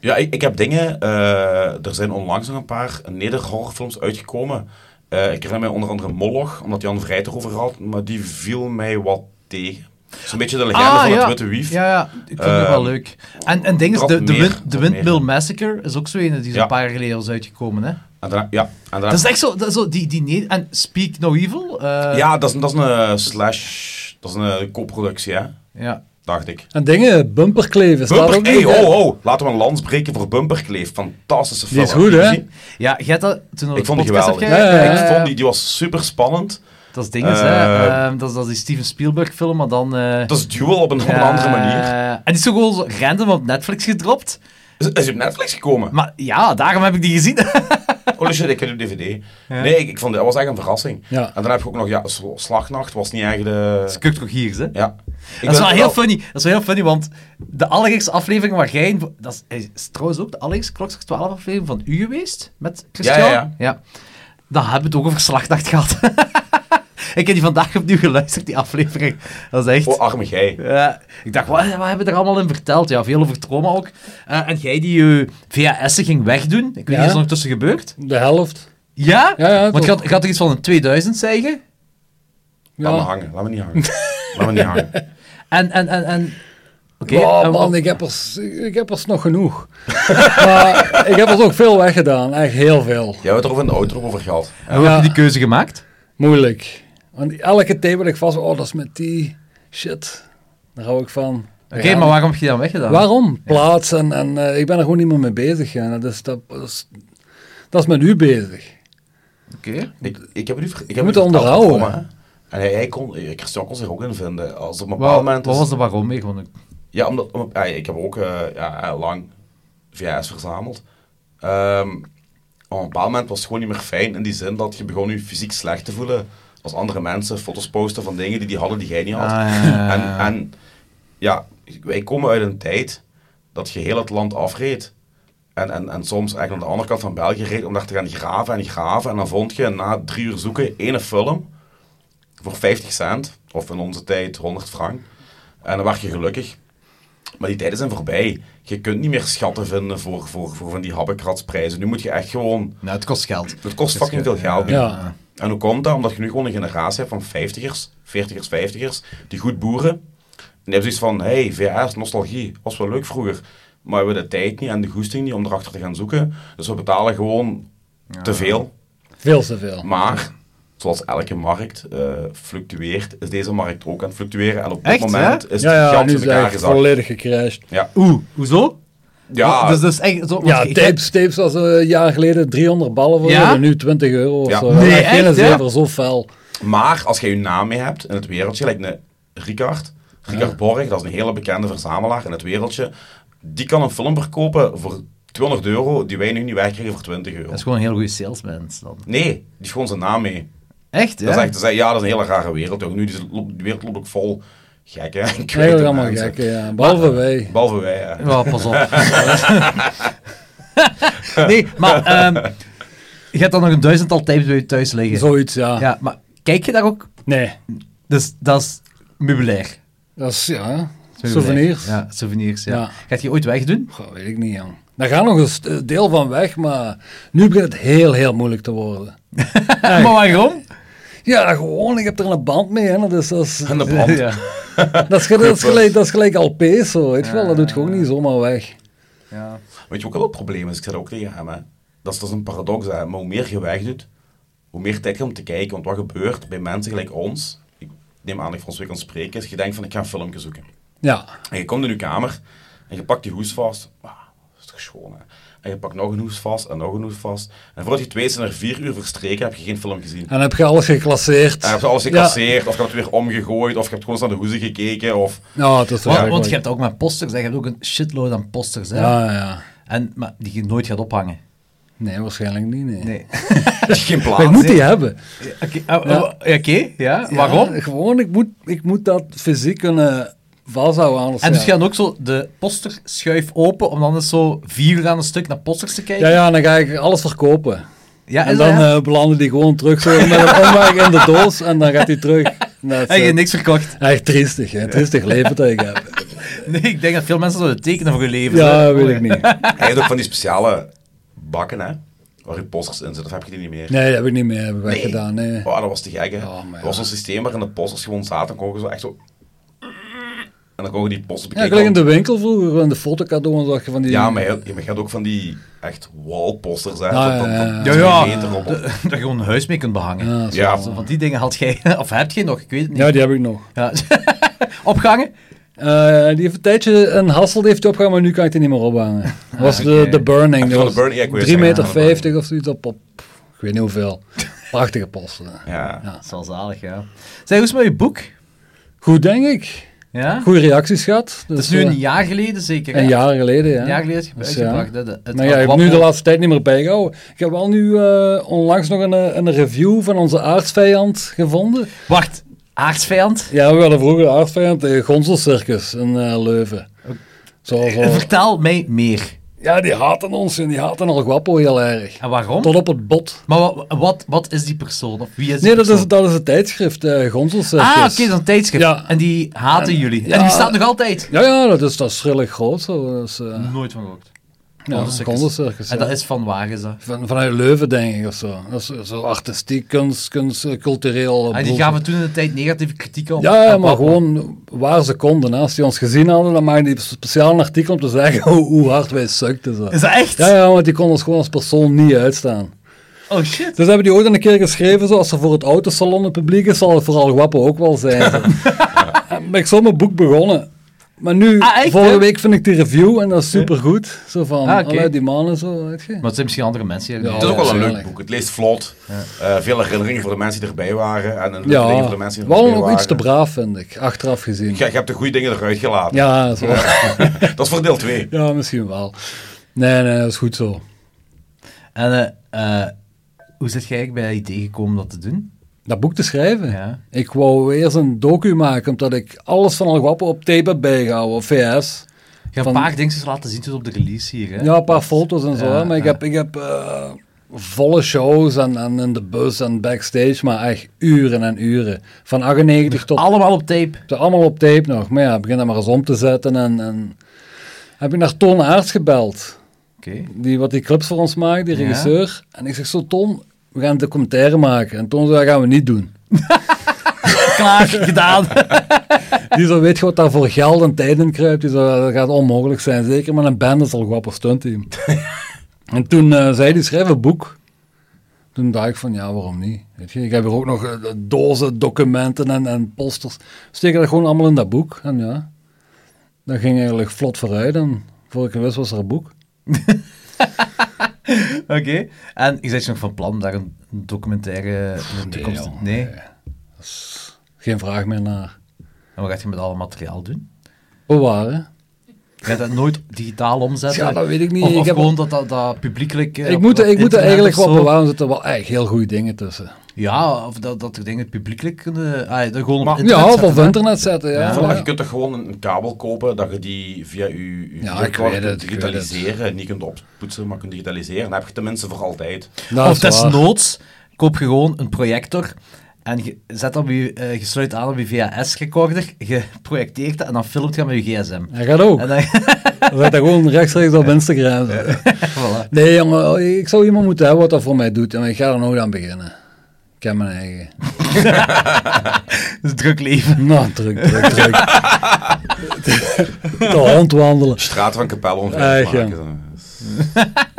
Speaker 4: Ja, ik, ik heb dingen. eh, er zijn onlangs nog een paar nederhorrorfilms uitgekomen. Eh, ik herinner mij onder andere Moloch, omdat Jan Vrijt erover had, maar die viel mij wat tegen. Zo'n beetje de legende
Speaker 5: Ah,
Speaker 4: van het Witte Wief.
Speaker 3: Ah, Ja, ja. Ik vind het
Speaker 4: Eh,
Speaker 3: wel leuk. En, en ding is,
Speaker 4: wat
Speaker 3: de, de,
Speaker 4: meer,
Speaker 3: win, de
Speaker 4: wat
Speaker 3: Windmill
Speaker 4: meer.
Speaker 3: Massacre is ook zo een die zo'n
Speaker 4: Ja.
Speaker 3: paar jaar geleden is uitgekomen, hè?
Speaker 4: En daarna, ja, en daarna-
Speaker 3: Dat is echt zo, dat is zo die, die ne- en Speak No Evil? eh,
Speaker 4: ja dat, is, dat is een slash. Dat is een co-productie, hè?
Speaker 3: ja.
Speaker 4: Dacht ik.
Speaker 5: En dingen, bumperkleven, staat
Speaker 4: Bumper,
Speaker 5: ook
Speaker 4: hey,
Speaker 5: niet. hè.
Speaker 4: ho, ho. Laten we een lans breken voor Bumperkleef. Fantastische
Speaker 5: Die
Speaker 4: film.
Speaker 5: is goed, hè?
Speaker 4: Heb je gezien?
Speaker 3: Ja, jij hebt dat toen
Speaker 4: Ik vond die geweldig.
Speaker 5: Ja, ja, ja.
Speaker 4: Ik vond die, die was super spannend.
Speaker 3: eh, Dat is dinges, hè.
Speaker 4: Eh,
Speaker 3: Ehm, dat, is, dat is die Steven Spielberg film, maar dan... eh,
Speaker 4: Dat is Duel op een, op een
Speaker 3: eh,
Speaker 4: andere manier.
Speaker 3: En die is toch gewoon zo random op Netflix gedropt.
Speaker 4: Is, is die op Netflix gekomen?
Speaker 3: Maar ja, daarom heb ik die gezien.
Speaker 4: Oh shit, ik heb die op DVD. Nee, ik, ik vond dat was echt een verrassing.
Speaker 5: Ja.
Speaker 4: En dan heb ik ook nog, ja, Sl- Slagnacht was niet echt de...
Speaker 3: Kuk toch hier, hè.
Speaker 4: Ja. Ik
Speaker 3: Dat is
Speaker 4: ben Oh,
Speaker 3: wel
Speaker 4: er
Speaker 3: heel funny. Dat is wel heel funny, want de allereerste aflevering waar jij... in- Dat is, is trouwens ook de allereerste Klokslag 12 aflevering van u geweest, met Christian.
Speaker 4: Ja, ja, ja.
Speaker 3: Dan hebben we het ook over slagnacht gehad. ik heb die vandaag opnieuw geluisterd, die aflevering. Dat is echt...
Speaker 4: Oh, arme gij.
Speaker 3: Ja, ik dacht, wat, wat hebben we er allemaal in verteld? Ja, veel over trauma ook. Eh, en jij die je VHS'en ging wegdoen. Ik weet niet,
Speaker 5: Ja.
Speaker 3: wat is er nog tussen gebeurd?
Speaker 5: De helft.
Speaker 3: Ja?
Speaker 5: Ja, ja,
Speaker 3: Want
Speaker 5: toch.
Speaker 3: je had, je had er iets van een 2000 zeggen.
Speaker 4: Laat me
Speaker 5: Ja.
Speaker 4: hangen, laat me niet hangen. laat me niet hangen.
Speaker 3: En, en, en, en... Oké.
Speaker 5: Oh,
Speaker 3: en-
Speaker 5: man, ik heb, er, s- ik heb er s nog genoeg. maar ik heb er ook veel weggedaan, echt heel veel.
Speaker 4: Jij hebt er over in de auto over gehad.
Speaker 3: en hoe
Speaker 5: Ja.
Speaker 3: heb je die keuze gemaakt?
Speaker 5: Moeilijk. Want elke tape dat ik vast, oh, dat is met die shit. Daar hou ik van.
Speaker 3: Oké, maar waarom heb je die dan weggedaan?
Speaker 5: Waarom? Plaats en, en eh, ik ben er gewoon niet meer mee bezig. En dat, is, dat, dat is, dat is met u bezig.
Speaker 3: Oké.
Speaker 4: Ik, ik heb het u ver- ik
Speaker 5: Je
Speaker 4: heb
Speaker 5: moet
Speaker 4: het u verteld,
Speaker 5: onderhouden.
Speaker 4: Rome, hè. En hij, hij kon, eh, Christian kon zich ook in vinden. Als er op een bepaald
Speaker 3: Wat,
Speaker 4: moment...
Speaker 3: wat
Speaker 4: is-
Speaker 3: was de waarom mee? Gewoon,
Speaker 4: Ja, omdat, om- ja, ik heb ook eh, ja, eh, lang VHS verzameld. Ehm, op een bepaald moment was het gewoon niet meer fijn in die zin dat je begon je fysiek slecht te voelen als andere mensen foto's posten van dingen die die hadden die jij niet
Speaker 3: Ah,
Speaker 4: had.
Speaker 3: ja, ja, ja.
Speaker 4: En, en ja, wij komen uit een tijd dat je heel het land afreed. En, en, en soms eigenlijk aan de andere kant van België reed om daar te gaan graven en graven. En dan vond je na drie uur zoeken ene film voor 50 cent, of in onze tijd 100 frank. En dan werd je gelukkig. Maar die tijden zijn voorbij. Je kunt niet meer schatten vinden voor, voor, voor van die habbekratsprijzen. Nu moet je echt gewoon...
Speaker 3: nou, het kost geld.
Speaker 4: Het kost fucking veel geld. nu.
Speaker 5: Ja.
Speaker 4: En hoe komt dat? Omdat je nu gewoon een generatie hebt van 50ers, 40ers, 50ers, die goed boeren. En die hebben zoiets van, hey, VHS, nostalgie, was wel leuk vroeger. Maar we hebben de tijd niet en de goesting niet om erachter te gaan zoeken. Dus we betalen gewoon te veel.
Speaker 5: Veel te veel.
Speaker 4: Maar, zoals elke markt eh, fluctueert, is deze markt ook aan het fluctueren. En op dit
Speaker 3: Echt,
Speaker 4: moment is
Speaker 5: Ja,
Speaker 4: het
Speaker 5: ja,
Speaker 4: geld
Speaker 5: nu
Speaker 4: in
Speaker 5: is het
Speaker 4: elkaar
Speaker 5: eigenlijk
Speaker 4: gezakt.
Speaker 5: volledig gecrashed.
Speaker 4: Ja,
Speaker 3: Oeh, hoezo?
Speaker 5: Oh,
Speaker 4: ja,
Speaker 3: Dus, dus echt, zo, want
Speaker 5: Ja,
Speaker 3: ik- ik heb-
Speaker 5: tapes, tapes was eh, een jaar geleden 300 ballen voor
Speaker 3: Ja?
Speaker 5: euro, nu 20 euro of
Speaker 4: Ja.
Speaker 5: zo.
Speaker 4: Nee,
Speaker 5: Ja, geen
Speaker 3: echt, hè?
Speaker 5: zever, zo fel.
Speaker 4: maar als jij je naam mee hebt in het wereldje, lijkt een Ricard, Ricard Borg, dat is een hele bekende verzamelaar in het wereldje, die kan een film verkopen voor 200 euro die wij nu niet wegkrijgen voor 20 euro.
Speaker 3: Dat is gewoon een heel goede salesman. Dan.
Speaker 4: Nee, die heeft gewoon zijn naam mee.
Speaker 3: Echt, ja?
Speaker 4: Dat is echt, dat is, ja, dat is een hele rare wereld. joh. Nu is het- loopt- die wereld loopt ook vol gekken. en kwijte
Speaker 5: Eigenlijk allemaal
Speaker 4: mensen.
Speaker 5: gek, ja. Behalve wij.
Speaker 4: Behalve wij, hè.
Speaker 3: Ja, pas op. nee, maar ehm, je hebt dan nog een duizendtal tapes bij je thuis liggen.
Speaker 5: Zoiets, ja.
Speaker 3: Ja, maar kijk je daar ook?
Speaker 5: Nee,
Speaker 3: Dus dat is meubilair.
Speaker 5: dat is, ja,
Speaker 3: Meubilair.
Speaker 5: souvenirs.
Speaker 3: Ja, souvenirs, ja.
Speaker 5: Ja.
Speaker 3: Gaat je ooit wegdoen?
Speaker 5: Goh, weet ik niet, jong. Daar gaat nog een st- eh, deel van weg, maar nu begint het heel, heel moeilijk te worden.
Speaker 3: Maar waarom?
Speaker 5: Ja, gewoon, ik heb er een band mee, hè. Dat is, dat is,
Speaker 4: En de brand.
Speaker 3: Ja.
Speaker 5: dat is, gel- dat is gelijk, dat is gelijk LP's, zo, weet je wel. Dat doet gewoon niet zomaar weg.
Speaker 3: ja.
Speaker 4: Weet je ook wel wat het probleem is? Ik zei dat ook tegen hem. Hè. Dat, is, dat is een paradox. Hè. Maar hoe meer je wegdoet, hoe meer tijd je hebt om te kijken. Want wat gebeurt bij mensen gelijk ons, ik neem aan dat ik voor ons weer kan spreken, is je denkt van ik ga een filmpje zoeken.
Speaker 5: Ja,
Speaker 4: En je komt in je kamer en je pakt die hoes vast. Ah, dat is toch schoon, hè? En je pakt nog een hoes vast en nog een hoes vast. En voordat je het weet zijn er vier uur verstreken, heb je geen film gezien.
Speaker 5: En heb je alles geclasseerd.
Speaker 4: En heb je alles gecasseerd, of je hebt het weer omgegooid, of je hebt gewoon eens naar de hoezen gekeken, of...
Speaker 5: Ja, nou, dat
Speaker 3: Want,
Speaker 5: is wel
Speaker 3: want je
Speaker 5: mooi.
Speaker 3: hebt ook maar posters, hè. je hebt ook een shitload aan posters. Hè.
Speaker 5: Ja, ja.
Speaker 3: En, maar die je nooit gaat ophangen.
Speaker 5: Nee, waarschijnlijk niet, nee.
Speaker 3: Nee.
Speaker 4: Geen plaats.
Speaker 5: Maar ik moet die hebben.
Speaker 3: Oké, ah, ah, oké, ja. Waarom?
Speaker 5: Ja, gewoon, ik moet, ik moet dat fysiek kunnen vasthouden. Anders,
Speaker 3: En dus
Speaker 5: ja.
Speaker 3: je gaat ook zo de poster schuif open om dan eens zo vier uur aan een stuk naar posters te kijken.
Speaker 5: Ja, ja, dan ga ik alles verkopen.
Speaker 3: Ja,
Speaker 5: en
Speaker 3: is
Speaker 5: dan
Speaker 3: dat, ja?
Speaker 5: eh, belanden die gewoon terug zo met een omweg in de doos en dan gaat die terug. Net,
Speaker 3: En je hebt niks verkocht.
Speaker 5: Echt triestig, hè? Triestig leven dat ik heb.
Speaker 3: Nee, ik denk dat veel mensen zouden tekenen voor hun leven.
Speaker 5: Ja,
Speaker 3: hè.
Speaker 5: weet ik niet.
Speaker 4: Hij heeft ook van die speciale bakken, hè, waar je posters in zitten, of heb je die niet meer?
Speaker 5: Nee, dat heb ik niet meer heb ik weggedaan. Nee.
Speaker 4: Oh, dat was te gek, hè.
Speaker 5: Ja, maar
Speaker 4: Er was
Speaker 5: ja.
Speaker 4: een systeem waarin de posters gewoon zaten, dan kon je zo echt zo... En dan kon je die posters
Speaker 5: Ja,
Speaker 4: bekijken.
Speaker 5: gelijk in de winkel vroeger, in de fotocadeau en zag je van die...
Speaker 4: Ja, maar je, je gaat ook van die echt wallposters, hè.
Speaker 5: Ja,
Speaker 4: tot- tot-
Speaker 5: ja, ja.
Speaker 4: tot
Speaker 3: Ja,
Speaker 4: twee
Speaker 3: ja.
Speaker 4: meter op-
Speaker 3: Dat je gewoon een huis mee kunt behangen.
Speaker 5: Ja,
Speaker 3: Ja.
Speaker 5: dat is
Speaker 4: Ja.
Speaker 5: wel-
Speaker 3: Want die dingen had jij, of heb je nog, ik weet het niet.
Speaker 5: ja, die heb ik nog.
Speaker 3: Ja. Opgehangen?
Speaker 5: Eh, die heeft een tijdje een hassel die heeft die opgehangen, maar nu kan ik die niet meer ophangen. Dat was de,
Speaker 3: oké.
Speaker 5: de Burning.
Speaker 4: Even
Speaker 5: Dat
Speaker 4: van
Speaker 5: was
Speaker 4: de Burning, ja, ik wou
Speaker 5: 3,50
Speaker 4: zeggen,
Speaker 5: meter
Speaker 4: van de Burning.
Speaker 5: of zoiets op, op, ik weet niet hoeveel. Prachtige posten.
Speaker 4: Ja.
Speaker 3: Dat is wel zalig, ja. Zeg, hoe is het met je boek?
Speaker 5: Goed, denk ik.
Speaker 3: Ja?
Speaker 5: Goede reacties gehad. dus, eh,
Speaker 3: Het is nu een jaar geleden zeker. hè?
Speaker 5: Een jaar geleden, ja.
Speaker 3: Een jaar geleden is het
Speaker 5: Dus ja.
Speaker 3: uitgebracht. hè, de- het
Speaker 5: Maar ja, ik heb nu
Speaker 3: Wappel-
Speaker 5: de laatste tijd niet meer bijgehouden. Ik heb wel nu eh, onlangs nog een, eh, een review van onze aardsvijand gevonden.
Speaker 3: Wacht, aardsvijand?
Speaker 5: Ja, we hadden vroeger aardsvijand eh Gonselcircus in eh, Leuven. Zo, zo.
Speaker 3: Vertel mij meer.
Speaker 5: Ja, die haten ons en die haten al Guapo heel erg.
Speaker 3: En Ah, waarom?
Speaker 5: Tot op het bot.
Speaker 3: Maar wat, wat, wat is die persoon? Of wie is die
Speaker 5: Nee, dat is,
Speaker 3: persoon?
Speaker 5: dat is het tijdschrift, eh Gonselcircus.
Speaker 3: Ah, oké, dat is een tijdschrift.
Speaker 5: Ja.
Speaker 3: En die haten jullie. En die bestaat nog altijd.
Speaker 5: Ja, ja, dat is, dat is redelijk groot. Zo. Dus, eh,
Speaker 3: Nooit van gehoord.
Speaker 5: ja, Gonselcircus.
Speaker 3: Mm, En
Speaker 5: ja.
Speaker 3: dat is van waar is dat?
Speaker 5: Van, vanuit Leuven, denk ik, of zo. Dat is zo artistiek, kunst, kunst eh, cultureel. eh,
Speaker 3: En Ah, die
Speaker 5: boel.
Speaker 3: gaven toen in de tijd negatieve kritiek op.
Speaker 5: Ja, ja,
Speaker 3: op
Speaker 5: maar
Speaker 3: Wappel.
Speaker 5: gewoon waar ze konden. hè. Als die ons gezien hadden, dan maakten die speciaal een artikel om te zeggen hoe, hoe hard wij sukten. Zo.
Speaker 3: Is dat echt?
Speaker 5: Ja, ja, want die kon ons gewoon als persoon niet uitstaan.
Speaker 3: Oh shit.
Speaker 5: Dus hebben die ooit een keer geschreven, zo, als er voor het autosalon een publiek is, zal het vooral Guapo ook wel zijn. zo. En ben ik zo mijn boek begonnen. Maar nu,
Speaker 3: Ah, echt,
Speaker 5: vorige
Speaker 3: hè?
Speaker 5: week vind ik die review en dat is supergoed. Zo van,
Speaker 3: Ah, oké.
Speaker 5: allee, die mannen zo, weet je.
Speaker 3: Maar het zijn misschien andere mensen. die-
Speaker 5: Ja.
Speaker 4: Het is ook wel een leuk
Speaker 5: waarschijnlijk.
Speaker 4: boek. Het leest vlot. Eh, veel herinneringen voor de mensen die erbij waren. En een leuke
Speaker 5: Ja,
Speaker 4: dingen voor de mensen die
Speaker 5: wel
Speaker 4: erbij
Speaker 5: nog
Speaker 4: waren.
Speaker 5: iets te braaf, vind ik, achteraf gezien.
Speaker 4: Je, je hebt de goede dingen eruit gelaten.
Speaker 5: Ja, zo.
Speaker 4: Dat is voor deel 2.
Speaker 5: ja, misschien wel. Nee, nee, dat is goed zo.
Speaker 3: En eh, eh, hoe zit jij eigenlijk bij dat idee gekomen om dat te doen?
Speaker 5: Dat boek te schrijven?
Speaker 3: Ja.
Speaker 5: Ik wou eerst een docu maken, omdat ik alles van Al Guapo op tape heb bijgehouden, op VS.
Speaker 3: Je hebt
Speaker 5: Van-
Speaker 3: een paar dingetjes laten zien toen op de release hier. Hè?
Speaker 5: Ja, een paar foto's en zo,
Speaker 3: Ja,
Speaker 5: hè, maar ik
Speaker 3: ja.
Speaker 5: heb, ik heb eh, volle shows en, en in de bus en backstage, maar echt uren en uren. Van 98 tot...
Speaker 3: Allemaal op tape.
Speaker 5: Ze allemaal op tape nog, maar ja, begin dat maar eens om te zetten en... en heb ik naar Ton Aerts gebeld,
Speaker 3: Oké.
Speaker 5: die wat die clips voor ons maakt, die
Speaker 3: Ja.
Speaker 5: regisseur. En ik zeg zo, Ton, we gaan een documentaire maken. En Ton zei, dat gaan we niet doen.
Speaker 3: Klaar, gedaan.
Speaker 5: Die zo weet je wat daar voor geld en tijd in kruipt. Die zo, dat gaat onmogelijk zijn. Zeker met een band is al guapo stuntteam. en toen eh, zei die schrijf een boek. Toen dacht ik van, ja, waarom niet? Weet je, ik heb hier ook nog eh, dozen documenten en, en posters. Steek dat gewoon allemaal in dat boek. En ja, dat ging eigenlijk vlot vooruit. En voor ik het wist was er een boek.
Speaker 3: Oké. En ik zei nog van plan om daar een documentaire in de toekomst te
Speaker 5: joh.
Speaker 3: Nee.
Speaker 5: Geen vraag meer naar.
Speaker 3: En wat gaat je met al het materiaal doen?
Speaker 5: Bewaren.
Speaker 3: Je gaat dat nooit digitaal omzetten?
Speaker 5: Ja, dat weet ik niet.
Speaker 3: Of, of
Speaker 5: Ik heb-
Speaker 3: gewoon dat, dat, dat publiekelijk... eh,
Speaker 5: Ik
Speaker 3: op-
Speaker 5: moet,
Speaker 3: op
Speaker 5: ik moet er
Speaker 3: internet
Speaker 5: eigenlijk
Speaker 3: of
Speaker 5: wel
Speaker 3: zo.
Speaker 5: bewaren. Er zitten wel echt heel goede dingen tussen.
Speaker 3: Ja, of dat, dat er dingen publiekelijk kunnen... Ah, dat gewoon op
Speaker 4: Maar-
Speaker 3: internet
Speaker 5: ja, of
Speaker 3: zetten,
Speaker 5: op
Speaker 3: hè?
Speaker 5: internet zetten. Ja.
Speaker 4: Vooral,
Speaker 5: Ja.
Speaker 4: Je kunt toch gewoon een, een kabel kopen dat je die via je, je
Speaker 5: Ja,
Speaker 4: videorecorder
Speaker 5: ik weet het,
Speaker 4: kunt
Speaker 5: ik weet het.
Speaker 4: digitaliseren. Niet kunt oppoetsen, maar kunt digitaliseren. Dan heb je het tenminste voor altijd.
Speaker 5: Dat
Speaker 3: of
Speaker 5: is waar.
Speaker 3: desnoods koop je gewoon een projector en je zet dat op je, eh, je sluit aan op je VHS-recorder, je projecteert dat en dan filmt je met je gsm.
Speaker 5: Hij gaat ook.
Speaker 3: En dan,
Speaker 5: Dan zet dat gewoon rechtstreeks op Instagram.
Speaker 3: voilà.
Speaker 5: Nee, jongen, ik zou iemand moeten hebben wat dat voor mij doet. En ik ga er nooit aan beginnen. Ik heb mijn eigen.
Speaker 3: Dat is een druk leven.
Speaker 5: Nou, druk, druk, druk. De hond wandelen.
Speaker 4: Straat van Capelle om
Speaker 5: Ah,
Speaker 4: vijf te
Speaker 5: ja.
Speaker 4: maken.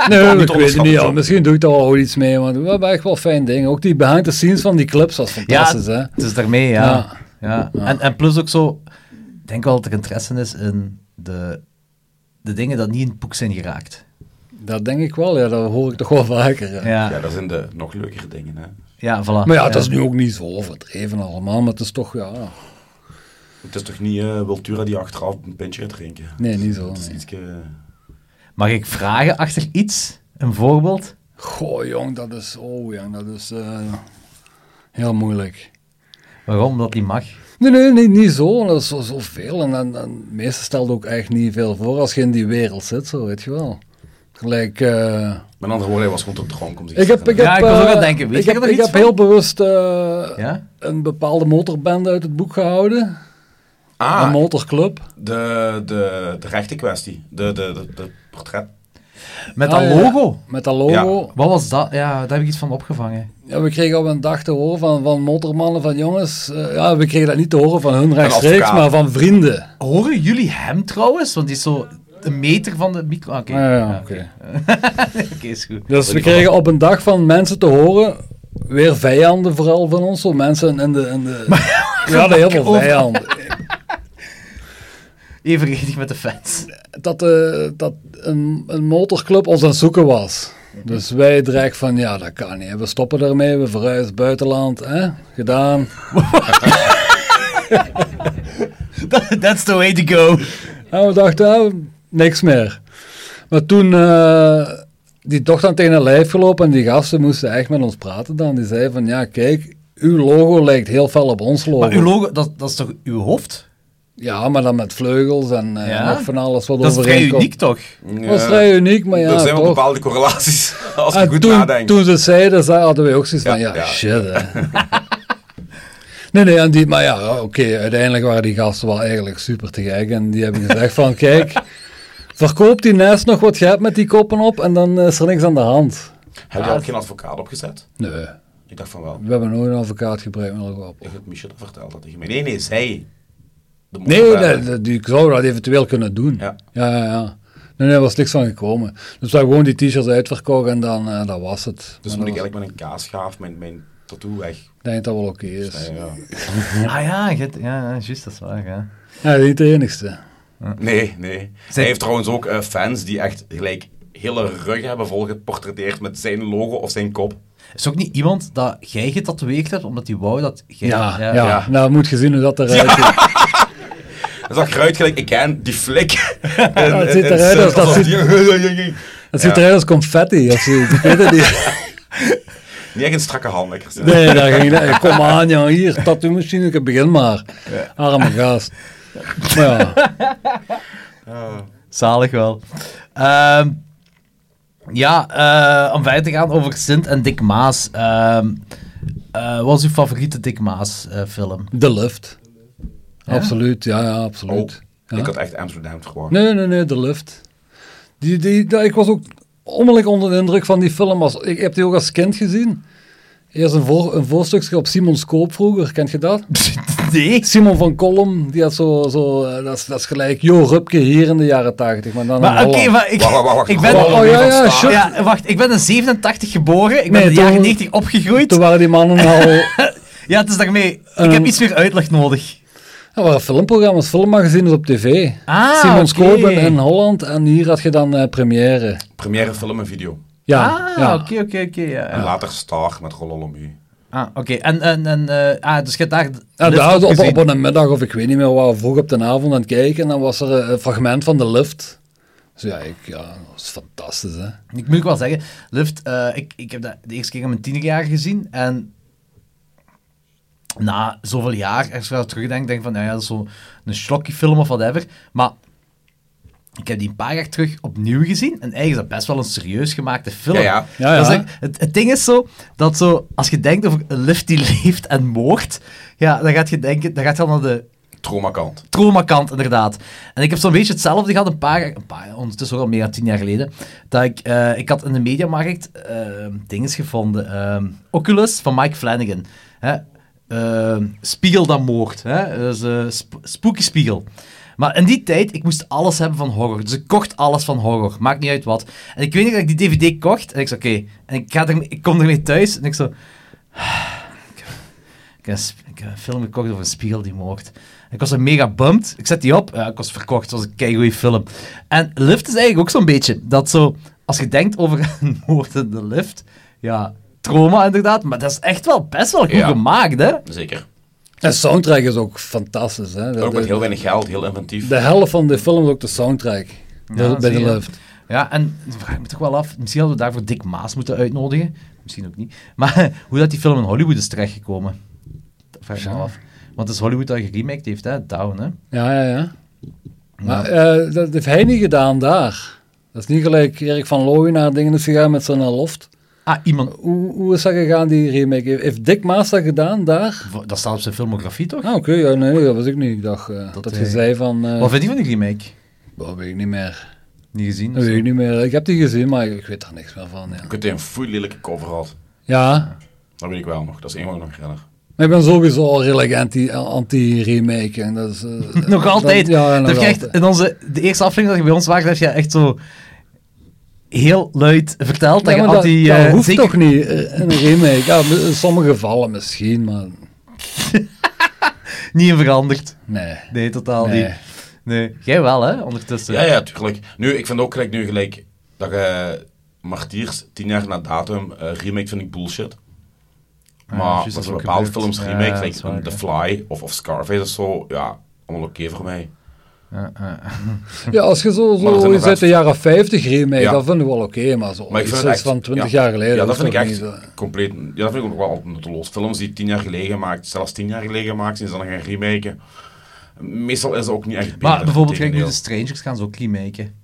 Speaker 5: Nee, ik weet het
Speaker 4: onderschatten.
Speaker 5: niet. ja, misschien doe ik daar wel ooit iets mee. Want we hebben echt wel fijn dingen. Ook die behind the scenes van die clips was fantastisch. hè?
Speaker 3: het is daarmee, ja. ja.
Speaker 5: Ja.
Speaker 3: En, en plus ook zo, ik denk wel dat er interesse is in de de dingen dat niet in het boek zijn geraakt.
Speaker 5: Dat denk ik wel, ja, dat hoor ik toch wel vaker. Ja.
Speaker 3: Ja,
Speaker 4: Ja,
Speaker 3: ja,
Speaker 4: dat zijn de nog leukere dingen, hè.
Speaker 3: voilà.
Speaker 5: Maar ja, het is nu ook niet zo overdreven allemaal, maar het is toch, ja...
Speaker 4: Het is toch niet eh Wiltura die achteraf een pintje gaat drinken?
Speaker 5: Nee, niet zo.
Speaker 4: Het is eh,
Speaker 5: nee.
Speaker 4: ietske-
Speaker 3: Mag ik vragen achter iets? Een voorbeeld?
Speaker 5: Goh, jong, dat is... Oh, jong, dat is... eh, heel moeilijk.
Speaker 3: Waarom dat die mag?
Speaker 5: Nee, nee, nee, niet zo. Dat is zo- zoveel. en, en, en meestal stelt ook echt niet veel voor als je in die wereld zit, zo, weet je wel. Gelijk... eh,
Speaker 4: Met andere woorden, hij was gewoon te dronken om zich
Speaker 5: ik
Speaker 4: te
Speaker 5: heb, ik
Speaker 4: zetten.
Speaker 3: Ja,
Speaker 5: heb,
Speaker 3: ik was ook
Speaker 5: eh,
Speaker 3: aan het denken, weet
Speaker 5: Ik
Speaker 3: je
Speaker 5: heb,
Speaker 3: er
Speaker 5: ik
Speaker 3: iets
Speaker 5: heb
Speaker 3: van?
Speaker 5: heel bewust eh,
Speaker 3: Ja?
Speaker 5: een bepaalde motorbende uit het boek gehouden. Een
Speaker 4: Ah,
Speaker 5: motorclub.
Speaker 4: de, de, de rechte kwestie. De, de, de, de portret.
Speaker 3: Met
Speaker 5: Ah,
Speaker 3: dat
Speaker 5: ja,
Speaker 3: logo.
Speaker 5: Met dat logo.
Speaker 4: Ja.
Speaker 3: Wat was dat? Ja, daar heb ik iets van opgevangen.
Speaker 5: Ja, we kregen op een dag te horen van, van motormannen, van jongens. eh, ja, we kregen dat niet te horen van hun rechtstreeks,
Speaker 4: advocaat.
Speaker 5: maar van vrienden.
Speaker 3: Horen jullie hem trouwens? Want die is zo een meter van de micro... Ah, Oké,
Speaker 5: Ah, ja,
Speaker 3: Ja,
Speaker 5: oké.
Speaker 3: oké, is goed.
Speaker 5: Dus we kregen op een dag van mensen te horen, weer vijanden vooral van ons, zo mensen in de... In de we hadden heel veel
Speaker 3: Overal.
Speaker 5: vijanden.
Speaker 3: Evenredig met de fans.
Speaker 5: Dat, eh, dat een, een motorclub ons aan het zoeken was. Dus wij dreigden van, ja, dat kan niet. We stoppen daarmee, we verhuizen buitenland. Hè? Gedaan.
Speaker 3: That's the way to go.
Speaker 5: En we dachten, ah, niks meer. Maar toen eh, die dochter aan tegen haar lijf gelopen en die gasten moesten echt met ons praten dan. Die zei van, ja, kijk, uw logo lijkt heel fel op ons logo.
Speaker 3: Maar uw logo, dat, dat is toch uw hoofd?
Speaker 5: Ja, maar dan met vleugels en eh,
Speaker 3: Ja?
Speaker 5: nog van alles wat
Speaker 3: Dat is vrij
Speaker 5: overeenkomt.
Speaker 3: uniek, toch?
Speaker 5: Dat is vrij uniek, maar ja,
Speaker 4: er zijn wel
Speaker 5: toch.
Speaker 4: bepaalde correlaties, als je
Speaker 5: En
Speaker 4: goed
Speaker 5: Ah, toen,
Speaker 4: nadenkt.
Speaker 5: toen ze zeiden, ze- hadden we ook zoiets van,
Speaker 4: Ja,
Speaker 5: ja,
Speaker 4: ja.
Speaker 5: shit, hè. Nee, nee, en die, maar ja, oké, uiteindelijk waren die gasten wel eigenlijk super te gek. En die hebben gezegd van, kijk, verkoop die nest nog wat je hebt met die koppen op en dan eh, is er niks aan de hand.
Speaker 4: Heb
Speaker 5: Ah.
Speaker 4: je ook geen advocaat opgezet?
Speaker 5: Nee,
Speaker 4: Ik dacht van wel.
Speaker 5: we hebben nooit een advocaat gebruikt met elkaar op.
Speaker 4: Ik heb Michel dat verteld dat tegen mij. Nee, nee, zij. De
Speaker 5: Nee,
Speaker 4: motorrijder.
Speaker 5: dat- dat- die zou dat eventueel kunnen doen.
Speaker 4: Ja.
Speaker 5: ja, ja. ja. Nee, nee, er was niks van gekomen. Dus we hebben gewoon die t-shirts uitverkocht en dan, eh, dat was het.
Speaker 4: Dus
Speaker 5: Maar
Speaker 4: moet ik
Speaker 5: dat was-
Speaker 4: eigenlijk met een kaasgaaf mijn, mijn tattoo weg.
Speaker 5: Ik denk dat wel oké is.
Speaker 4: Nee, ja.
Speaker 3: Ah ja, je hebt- ja, ja, juist, dat is waar, ja.
Speaker 5: Ja, niet de enigste.
Speaker 4: nee, nee. Hij heeft trouwens ook eh, fans die echt gelijk hele rug hebben volgeportretteerd met zijn logo of zijn kop.
Speaker 3: Is ook niet iemand dat jij getatoeëerd hebt, omdat die wou dat jij...
Speaker 5: Ja, ja,
Speaker 4: ja.
Speaker 5: nou moet je zien hoe dat eruit ziet.
Speaker 4: Dan zag ik eruit gelijk, ik ken die flik.
Speaker 5: het ziet eruit als dat ziet- Het ziet
Speaker 4: Ja.
Speaker 5: eruit als confetti of zoiets. Ik weet het niet.
Speaker 4: Niet echt een strakke hand, lekker.
Speaker 5: Nee, daar ging dat. Kom aan, ja, hier, tattoo machine, ik begin maar. Arme gast. Maar ja,
Speaker 3: Zalig wel. Ehm, ja, eh, om verder te gaan over Sint en Dick Maas. Ehm, eh, wat is uw favoriete Dick Maas eh, film?
Speaker 5: de lift. Absoluut, ja, Oh. ja, absoluut. Ja.
Speaker 4: Ik had echt Amsterdam gewoon.
Speaker 5: Nee, nee, nee, de lift. Die, die, dat- ik was ook onmiddellijk onder de indruk van die film. Als, ik heb die ook als kind gezien. Eerst een, voor, een voorstukje op Simon Koop vroeger, kent je dat?
Speaker 3: Nee.
Speaker 5: Simon van Kolm, die had zo, zo eh, dat, is, dat is gelijk Jo Rupke hier in de jaren tachtig. Maar dan in
Speaker 3: Maar oké,
Speaker 5: Holland.
Speaker 3: maar ik,
Speaker 4: Wacht, wacht, wacht.
Speaker 3: ik ben...
Speaker 5: Oh, oh, ja, ja, sure.
Speaker 3: Oh, Ja, wacht, ik ben in 87 geboren, ik ben
Speaker 5: Nee,
Speaker 3: in de jaren
Speaker 5: toen-
Speaker 3: 90 opgegroeid.
Speaker 5: Toen waren die mannen al...
Speaker 3: Ja, het is daarmee. Ik
Speaker 5: Ehm,
Speaker 3: heb iets meer uitleg nodig.
Speaker 5: Er waren filmprogramma's, filmmagazines op tv.
Speaker 3: Ah,
Speaker 5: Simon
Speaker 3: oké.
Speaker 5: Koop in- in Holland en hier had je dan eh, première.
Speaker 4: Première film en video.
Speaker 5: Ja, ja.
Speaker 3: Ah, oké, oké, oké. ja,
Speaker 4: En
Speaker 3: ja.
Speaker 4: later Star met Rololomu.
Speaker 3: Ah, oké. En, en, en eh, ah, dus je hebt daar...
Speaker 5: Ja,
Speaker 3: lift
Speaker 5: daar op,
Speaker 3: gezien.
Speaker 5: op een middag of ik weet niet meer waar, vroeg op de avond aan het kijken en dan was er eh, een fragment van de lift. Dus ja, ik, ja dat is fantastisch hè.
Speaker 3: Ik moet ook wel zeggen, Lift, eh, ik, ik heb dat de eerste keer in mijn tienerjaren gezien. En na zoveel jaar, als ik eraan terugdenk, denk ik van, nou ja, dat is zo'n schokkie film of whatever. Maar ik heb die een paar jaar terug opnieuw gezien. En eigenlijk is dat best wel een serieus gemaakte film.
Speaker 4: Ja, ja.
Speaker 5: Ja, ja.
Speaker 3: Dat is echt- het, het ding is zo, dat zo, als je denkt over een Lift die leeft en moord, ja, dan gaat je denken, dan gaat je al naar de
Speaker 4: Traumakant.
Speaker 3: traumakant, inderdaad. En ik heb zo'n beetje hetzelfde gehad een paar jaar, een paar jaar ondertussen ook al meer dan tien jaar geleden, dat ik, eh, ik had in de mediamarkt ehm dingen gevonden. ehm, Oculus van Mike Flanagan. Hè? Ehm, spiegel dat moord. Hè? Dus, eh, sp- spooky spiegel. Maar in die tijd, ik moest alles hebben van horror. Dus ik kocht alles van horror. Maakt niet uit wat. En ik weet niet dat ik die dvd kocht. En ik zei, oké. En ik, ga ermee- ik kom ermee thuis. En ik zo... Ik heb, een sp- ik heb een film gekocht over een spiegel die mocht. Ik was er mega bummed. Ik zet die op. Ja, ik was verkocht. Het was een keigoeie film. En Lift is eigenlijk ook zo'n beetje dat zo... Als je denkt over een moord in de lift... Ja, trauma inderdaad. Maar dat is echt wel best wel goed
Speaker 4: Ja.
Speaker 3: gemaakt, hè?
Speaker 4: Zeker.
Speaker 5: En soundtrack is ook fantastisch. Hè? De,
Speaker 4: Ook met
Speaker 5: de,
Speaker 4: heel weinig geld, heel inventief.
Speaker 5: de helft van de film is ook de soundtrack. Bij- bij
Speaker 3: zie
Speaker 5: de
Speaker 3: je.
Speaker 5: lift.
Speaker 3: Ja, en dan vraag ik me toch wel af, misschien hadden we daarvoor Dick Maas moeten uitnodigen. Misschien ook niet. Maar hoe dat die film in Hollywood is terechtgekomen. Dat vraag ik me af. Want het is Hollywood dat geremaked heeft, hè? Down, hè?
Speaker 5: Ja, ja, ja. Maar eh, dat heeft hij niet gedaan daar. Dat is niet gelijk Erik van Looy naar dingen is gegaan met zijn loft.
Speaker 3: Ah, iemand...
Speaker 5: Hoe, hoe is dat gegaan, die remake? Heeft- Heeft Dick Maas dat gedaan daar?
Speaker 3: Dat staat op zijn filmografie, toch?
Speaker 5: Ah, oké. ja, nee, nee, dat was ik niet. Ik dacht eh, dat, je
Speaker 3: hij-
Speaker 5: zei van... eh
Speaker 3: Wat vind je van die remake?
Speaker 5: dat weet ik niet meer.
Speaker 3: Niet gezien?
Speaker 5: Dat weet ik niet meer. Ik heb die gezien, maar ik weet daar niks meer van. Ja.
Speaker 4: Ik heb een foei lelijke cover had.
Speaker 5: ja.
Speaker 4: Dat weet ik wel nog. Dat is één wat ik nog herinner.
Speaker 5: Maar ik ben sowieso al redelijk anti- anti-remake. en dat is, eh,
Speaker 3: Nog altijd.
Speaker 5: Dat, ja, nog
Speaker 3: dat heb je echt in
Speaker 5: altijd.
Speaker 3: onze, de eerste aflevering dat je bij ons was, heb je echt zo heel luid verteld dat
Speaker 5: Ja,
Speaker 3: je
Speaker 5: maar dat,
Speaker 3: anti...
Speaker 5: dat
Speaker 3: eh,
Speaker 5: hoeft
Speaker 3: zeker-
Speaker 5: toch niet, eh, een remake. Ja, in sommige gevallen misschien, maar
Speaker 3: Niet in veranderd.
Speaker 5: nee.
Speaker 3: Nee, totaal
Speaker 5: Nee.
Speaker 3: niet. Nee. Jij wel, hè? Ondertussen.
Speaker 4: Ja, ja, tuurlijk. Nu, ik vind ook gelijk nu gelijk dat je Martiers, tien jaar na datum, eh, remake vind ik bullshit.
Speaker 3: Ja,
Speaker 4: Maar
Speaker 3: juist,
Speaker 4: dat
Speaker 3: dat is
Speaker 4: er
Speaker 3: ook
Speaker 4: bepaalde
Speaker 3: gebeurd.
Speaker 4: films
Speaker 3: Ja,
Speaker 4: remake,
Speaker 3: dat
Speaker 4: gelijk
Speaker 3: is waar,
Speaker 4: The
Speaker 3: ja.
Speaker 4: Fly of, of Scarface of zo, ja, allemaal oké voor mij.
Speaker 3: Oh, Ja, ja.
Speaker 5: Ja, als je zo,
Speaker 4: Hm. Maar dat
Speaker 5: zo
Speaker 4: zijn
Speaker 5: iets uit de
Speaker 4: inderdaad-
Speaker 5: jaren 50 remake,
Speaker 4: Ja.
Speaker 5: dat vinden we wel oké, maar zo
Speaker 4: Maar ik
Speaker 5: iets
Speaker 4: vind het echt,
Speaker 5: van 20
Speaker 4: ja.
Speaker 5: jaar geleden.
Speaker 4: Ja, dat
Speaker 5: hoeft
Speaker 4: vind ik
Speaker 5: toch
Speaker 4: echt
Speaker 5: niet, eh.
Speaker 4: compleet. Ja, dat vind ik ook wel alternatieloos. Films die tien jaar geleden gemaakt, zelfs tien jaar geleden gemaakt zijn, ze dan gaan remaken. Meestal is dat ook niet echt beter.
Speaker 3: Maar bijvoorbeeld, kijk, nu
Speaker 4: tegendeel.
Speaker 3: de Strangers gaan ze ook remaken.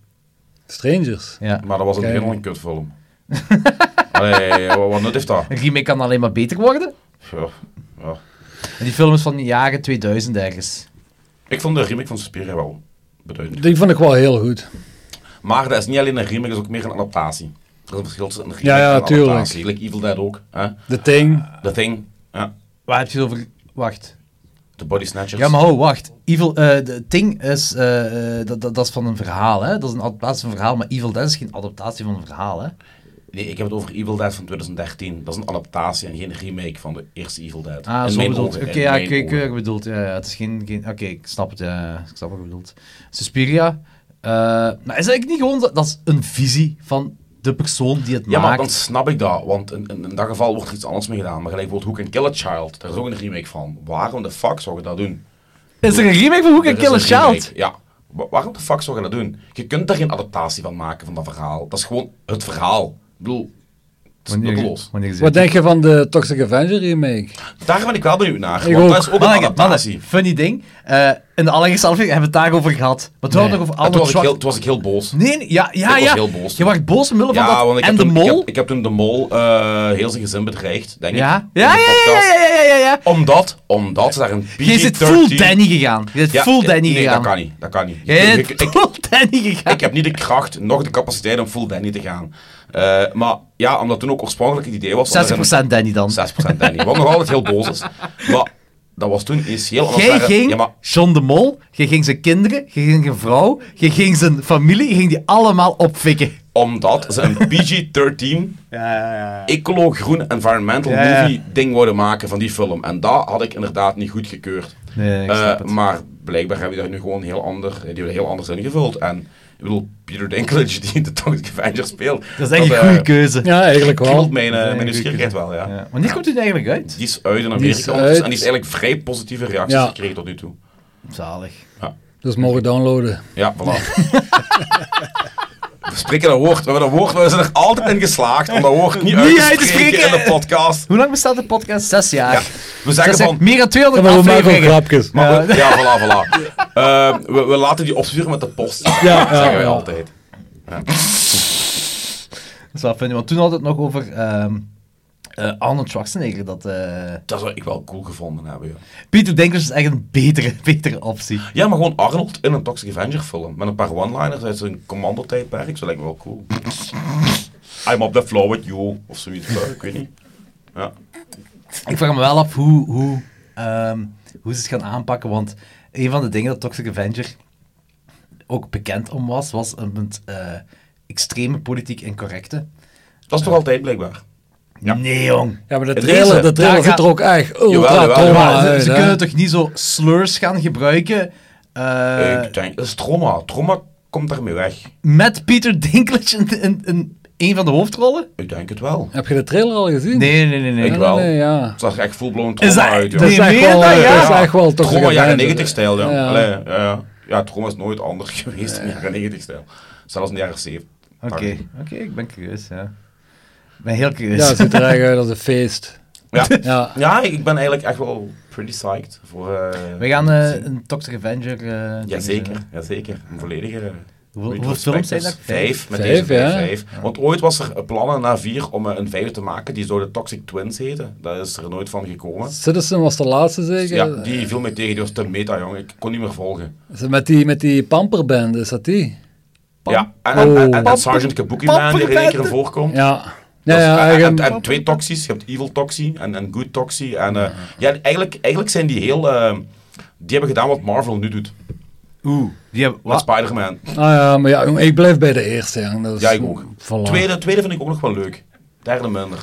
Speaker 5: Strangers.
Speaker 3: Ja.
Speaker 4: Maar dat was in het
Speaker 5: Kijk.
Speaker 4: begin al een kutfilm. Allee, wat, wat nut heeft dat?
Speaker 3: Een remake kan alleen maar beter worden.
Speaker 4: Ja, ja.
Speaker 3: En die film is van de jaren 2000 ergens.
Speaker 4: Ik vond de remake van Suspiria wel beduidend.
Speaker 5: Die vond ik wel heel goed.
Speaker 4: Maar dat is niet alleen een remake, dat is ook meer een adaptatie. Er is een verschil tussen een remake
Speaker 5: Ja, ja,
Speaker 4: en een
Speaker 5: tuurlijk.
Speaker 4: adaptatie. Like Evil Dead ook. Hè?
Speaker 5: The Thing.
Speaker 4: The Thing. Ja.
Speaker 3: Waar heb je het over? Wacht.
Speaker 4: The Body Snatchers.
Speaker 3: Ja, maar ho, wacht. Evil, eh de Thing is, eh, eh, dat, dat, dat is van een verhaal, hè? Dat is een adaptatie van een verhaal, maar Evil Dead is geen adaptatie van een verhaal, hè?
Speaker 4: Nee, ik heb het over Evil Dead van 2013. Dat is een adaptatie en geen remake van de eerste Evil Dead.
Speaker 3: Ah,
Speaker 4: In
Speaker 3: zo
Speaker 4: mijn
Speaker 3: bedoeld.
Speaker 4: ogen,
Speaker 3: Oké,
Speaker 4: in
Speaker 3: ja,
Speaker 4: mijn
Speaker 3: ik eh, ik weet
Speaker 4: ogen.
Speaker 3: wat je bedoelt. Ja, ja, het is geen... geen Oké, ik snap het. ja, ik snap wat je bedoelt. Suspiria. eh, maar is eigenlijk niet gewoon... Dat, dat is een visie van de persoon die het
Speaker 4: Ja, maar
Speaker 3: maakt.
Speaker 4: dan snap ik dat, want in, in, in dat geval wordt er iets anders mee gedaan. Maar gelijk bijvoorbeeld Who Can Kill a Child, daar is ook een remake van. Waarom de fuck zou je dat doen?
Speaker 3: Is er een remake van Who Can
Speaker 4: Er is
Speaker 3: Kill a
Speaker 4: een remake,
Speaker 3: Child?
Speaker 4: Ja. Wa- Waarom de fuck zou je dat doen? Je kunt daar geen adaptatie van maken van dat verhaal. Dat is gewoon het verhaal. Ik bedoel, het is nutteloos.
Speaker 3: wanneer is
Speaker 5: Wat denk je van de Toxic Avenger remake?
Speaker 4: Daar ben ik wel benieuwd naar.
Speaker 5: Ik
Speaker 4: want
Speaker 5: ook.
Speaker 4: dat is ook een
Speaker 3: Mannen,
Speaker 4: adaptatie.
Speaker 3: mannen, funny ding. Eh, in de allereerste aflevering hebben we het daarover gehad. Maar toen
Speaker 5: Nee.
Speaker 3: hadden we nog over
Speaker 4: En toen
Speaker 3: Arnold
Speaker 4: was, ik heel,
Speaker 3: Schwarzenegger.
Speaker 4: toen was ik heel
Speaker 3: Nee,
Speaker 4: boos.
Speaker 3: nee, ja, ja,
Speaker 4: Ik was
Speaker 3: ja.
Speaker 4: heel boos.
Speaker 3: Je was boos omwille van
Speaker 4: Ja, want
Speaker 3: dat.
Speaker 4: ik
Speaker 3: En
Speaker 4: heb,
Speaker 3: de
Speaker 4: toen, ik,
Speaker 3: mol.
Speaker 4: heb, ik heb toen de mol eh, heel zijn gezin bedreigd, denk ik.
Speaker 3: Ja,
Speaker 4: in
Speaker 3: ja,
Speaker 4: de
Speaker 3: ja, ja,
Speaker 4: podcast.
Speaker 3: ja, ja, ja, ja, ja.
Speaker 4: Omdat, omdat ze daar een PG-13...
Speaker 3: Je zit full Danny gegaan. Je zit
Speaker 4: Ja,
Speaker 3: full Danny
Speaker 4: nee,
Speaker 3: gegaan.
Speaker 4: dat kan niet. Dat kan niet.
Speaker 3: Je
Speaker 4: Ik- ik-
Speaker 3: hebt
Speaker 4: ik-
Speaker 3: full Danny gegaan.
Speaker 4: ik heb niet de kracht, nog de capaciteit om full Danny te gaan. Eh, maar ja, omdat toen ook oorspronkelijk het idee was... om er een-
Speaker 3: 60% Danny dan.
Speaker 4: 6% Danny. Wat nog altijd heel boos is. Maar dat was toen essentieel. omdat
Speaker 3: Jij
Speaker 4: daar-
Speaker 3: ging
Speaker 4: Ja, maar
Speaker 3: John de Mol, je ging zijn kinderen, je ging zijn vrouw, je ging zijn familie, je ging die allemaal opfikken.
Speaker 4: omdat ze een PG-13 ecolo-groen environmental
Speaker 3: Ja, ja.
Speaker 4: movie ding wilden maken van die film. En dat had ik inderdaad niet goed gekeurd. Eh,
Speaker 3: Nee, ik snap het.
Speaker 4: Maar blijkbaar hebben die daar nu gewoon heel ander, die hebben heel anders ingevuld. En ik bedoel, Peter Dinklage die in de Toxic Avenger speelt.
Speaker 3: Dat is echt een
Speaker 4: eh,
Speaker 3: goede keuze.
Speaker 5: Ja, eigenlijk wel.
Speaker 4: kriebelt mijn,
Speaker 3: Dat
Speaker 4: eh,
Speaker 3: is
Speaker 4: mijn
Speaker 3: een goede
Speaker 4: nieuwsgierigheid
Speaker 3: keuze.
Speaker 4: wel, ja.
Speaker 3: Ja. Wanneer komt hij eigenlijk uit?
Speaker 4: Die is uit in
Speaker 5: Die is
Speaker 4: Amerika
Speaker 5: uit.
Speaker 4: ondertussen en die is eigenlijk vrij positieve reacties
Speaker 5: Ja.
Speaker 4: gekregen tot nu toe.
Speaker 3: Zalig.
Speaker 5: Dus mogen downloaden.
Speaker 4: Ja, voilà. We spreken dat woord. We hebben dat woord, we zijn er altijd in geslaagd om dat woord niet, uit, te spreken in de podcast.
Speaker 3: Hoe lang bestaat de podcast? Zes jaar.
Speaker 4: Ja, we zeggen
Speaker 3: Zes jaar.
Speaker 4: van...
Speaker 3: Meer dan
Speaker 5: Ja,
Speaker 3: 200
Speaker 5: maar we maken ook
Speaker 3: afleveringen.
Speaker 5: grapjes.
Speaker 4: Maar we, ja, voilà, voilà. Eh, we, we laten die opsturen met de post.
Speaker 5: Ja,
Speaker 4: dat zeggen wij
Speaker 5: ja.
Speaker 4: altijd.
Speaker 3: Dat is wel funny, want toen hadden we het nog over ehm, eh, Arnold Schwarzenegger. Dat, eh,
Speaker 4: Dat zou ik wel cool gevonden hebben, ja.
Speaker 3: Peter Dinklage is echt een betere, betere optie.
Speaker 4: Ja, maar gewoon Arnold in een Toxic Avenger film. Met een paar one-liners uit zijn commando-tijdperk. Dat lijkt me wel cool. I'm up the floor with you. Of zoiets. eh, Ik weet niet. Ja.
Speaker 3: Ik vraag me wel af hoe, hoe, ehm, hoe ze het gaan aanpakken, want een van de dingen dat Toxic Avenger ook bekend om was, was een het eh, extreme politiek incorrecte.
Speaker 4: Dat is toch altijd blijkbaar. Ja.
Speaker 3: Nee, jong.
Speaker 5: Ja, maar de
Speaker 4: Deze.
Speaker 5: trailer, de
Speaker 3: Daar
Speaker 5: trailer ziet
Speaker 3: gaat-
Speaker 5: er ook echt ultra
Speaker 4: jawel,
Speaker 5: trauma
Speaker 4: jawel.
Speaker 3: ze
Speaker 5: uit,
Speaker 3: ze
Speaker 5: hè.
Speaker 3: kunnen toch niet zo slurs gaan gebruiken? eh,
Speaker 4: ik denk, dat is trauma. Trauma komt daarmee weg.
Speaker 3: met Peter Dinklage in, in, in een van de hoofdrollen?
Speaker 4: Ik denk het wel.
Speaker 5: Heb je de trailer al gezien?
Speaker 3: Nee, nee, nee. nee.
Speaker 4: Ik
Speaker 5: nee,
Speaker 4: wel.
Speaker 5: nee, ja.
Speaker 4: Het zag er echt full-blown
Speaker 3: Is
Speaker 4: trauma
Speaker 3: dat-
Speaker 4: uit.
Speaker 3: dat
Speaker 4: Ja.
Speaker 5: Het is
Speaker 3: Nee,
Speaker 5: echt
Speaker 3: meen
Speaker 5: wel,
Speaker 3: dat,
Speaker 5: het
Speaker 3: ja?
Speaker 5: is echt wel toch
Speaker 4: Trauma jaren 90
Speaker 5: 90
Speaker 4: stijl, ja.
Speaker 5: Ja.
Speaker 4: Allee, Ja. ja. Ja, trauma is nooit anders geweest in jaren 90 stijl. Zelfs in de jaren 70.
Speaker 3: Oké, oké, ik ben curieus, ja. Ik ben heel
Speaker 5: Ja,
Speaker 3: curieus.
Speaker 5: het ziet er echt uit als een feest.
Speaker 4: Ja.
Speaker 5: Ja.
Speaker 4: ja, ik ben eigenlijk echt wel pretty psyched voor... eh,
Speaker 3: We gaan eh, een Toxic Avenger... eh, ding
Speaker 4: Jazeker,
Speaker 3: doen.
Speaker 4: jazeker. Een volledige... eh,
Speaker 3: Hoeveel- hoeveel films
Speaker 4: retrospect.
Speaker 3: zijn
Speaker 4: Dus
Speaker 3: dat?
Speaker 4: Vijf, met
Speaker 5: Vijf,
Speaker 4: deze
Speaker 5: ja.
Speaker 4: vijf. Want ooit was er plannen na vier om eh, een vijfde te maken, die zou de Toxic Twins heten. Daar is er nooit van gekomen.
Speaker 5: Citizen was de laatste zeker?
Speaker 4: Ja, die viel mij tegen, die was te meta, jong. Ik kon niet meer volgen.
Speaker 5: Ze- Met die, met die pamperband, is dat die?
Speaker 4: Ja, en, en, en, en,
Speaker 5: Oh.
Speaker 4: en Sergeant Kabuki Man die er
Speaker 3: Papperpet.
Speaker 4: een keer in voorkomt.
Speaker 5: Ja.
Speaker 4: Dat
Speaker 5: Ja,
Speaker 4: is-
Speaker 5: ja,
Speaker 4: en,
Speaker 5: ik
Speaker 4: en,
Speaker 5: heb-
Speaker 4: en twee toxies. Je hebt evil toxie en, en good toxie. En, eh, ja, eigenlijk, eigenlijk zijn die heel... eh, die hebben gedaan wat Marvel nu doet.
Speaker 3: Oeh, die hebben...
Speaker 4: Met
Speaker 3: eh, Wat?
Speaker 4: Spider-Man.
Speaker 5: Ah ja, maar ja, jongen, ik blijf bij de eerste. jongen. Dat is-
Speaker 4: Ja, ik ook.
Speaker 5: Voilà.
Speaker 4: Tweede, tweede vind ik ook nog wel leuk. Derde minder.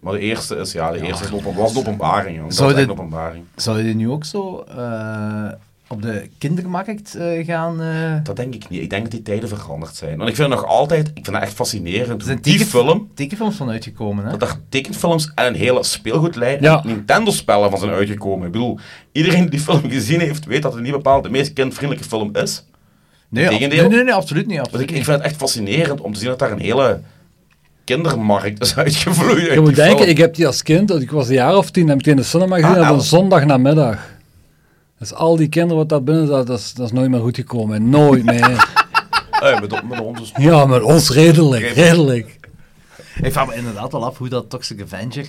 Speaker 4: Maar de eerste is, ja, de eerste is een open- was een openbaring, jongen. Dat
Speaker 3: Zou
Speaker 4: was echt
Speaker 3: dit-
Speaker 4: een openbaring.
Speaker 3: Zou je nu ook zo eh, op de kindermarkt eh, gaan... eh,
Speaker 4: Dat denk ik niet. Ik denk dat die tijden veranderd zijn. Want ik vind het nog altijd, ik vind dat echt fascinerend.
Speaker 3: Er
Speaker 4: hoe
Speaker 3: zijn
Speaker 4: die
Speaker 3: teken-
Speaker 4: film,
Speaker 3: tekenfilms van uitgekomen, hè?
Speaker 4: dat er tekenfilms en een hele speelgoedlijn
Speaker 5: Ja.
Speaker 4: en Nintendo-spellen van zijn uitgekomen. Ik bedoel, iedereen die die film gezien heeft, weet dat het niet bepaald de meest kindvriendelijke film is.
Speaker 3: nee, ab-
Speaker 4: tegendeel.
Speaker 3: nee, nee, nee, absoluut niet.
Speaker 4: Dus ik,
Speaker 3: Absoluut
Speaker 4: ik
Speaker 3: niet.
Speaker 4: vind het echt fascinerend om te zien dat daar een hele kindermarkt is uitgevloeid. uit
Speaker 5: Je
Speaker 4: die
Speaker 5: moet denken,
Speaker 4: film.
Speaker 5: ik heb die als kind, ik was een jaar of tien, heb ik die in de cinema gezien
Speaker 4: Ah,
Speaker 5: op een
Speaker 4: elf.
Speaker 5: zondagnamiddag. Dus al die kinderen wat daar binnen zaten, dat is, dat is nooit meer goed gekomen. Nooit meer.
Speaker 4: Eh, met, met ons is-
Speaker 5: ja, maar ons redelijk, redelijk.
Speaker 3: Ik vraag me inderdaad wel af hoe dat Toxic Avenger...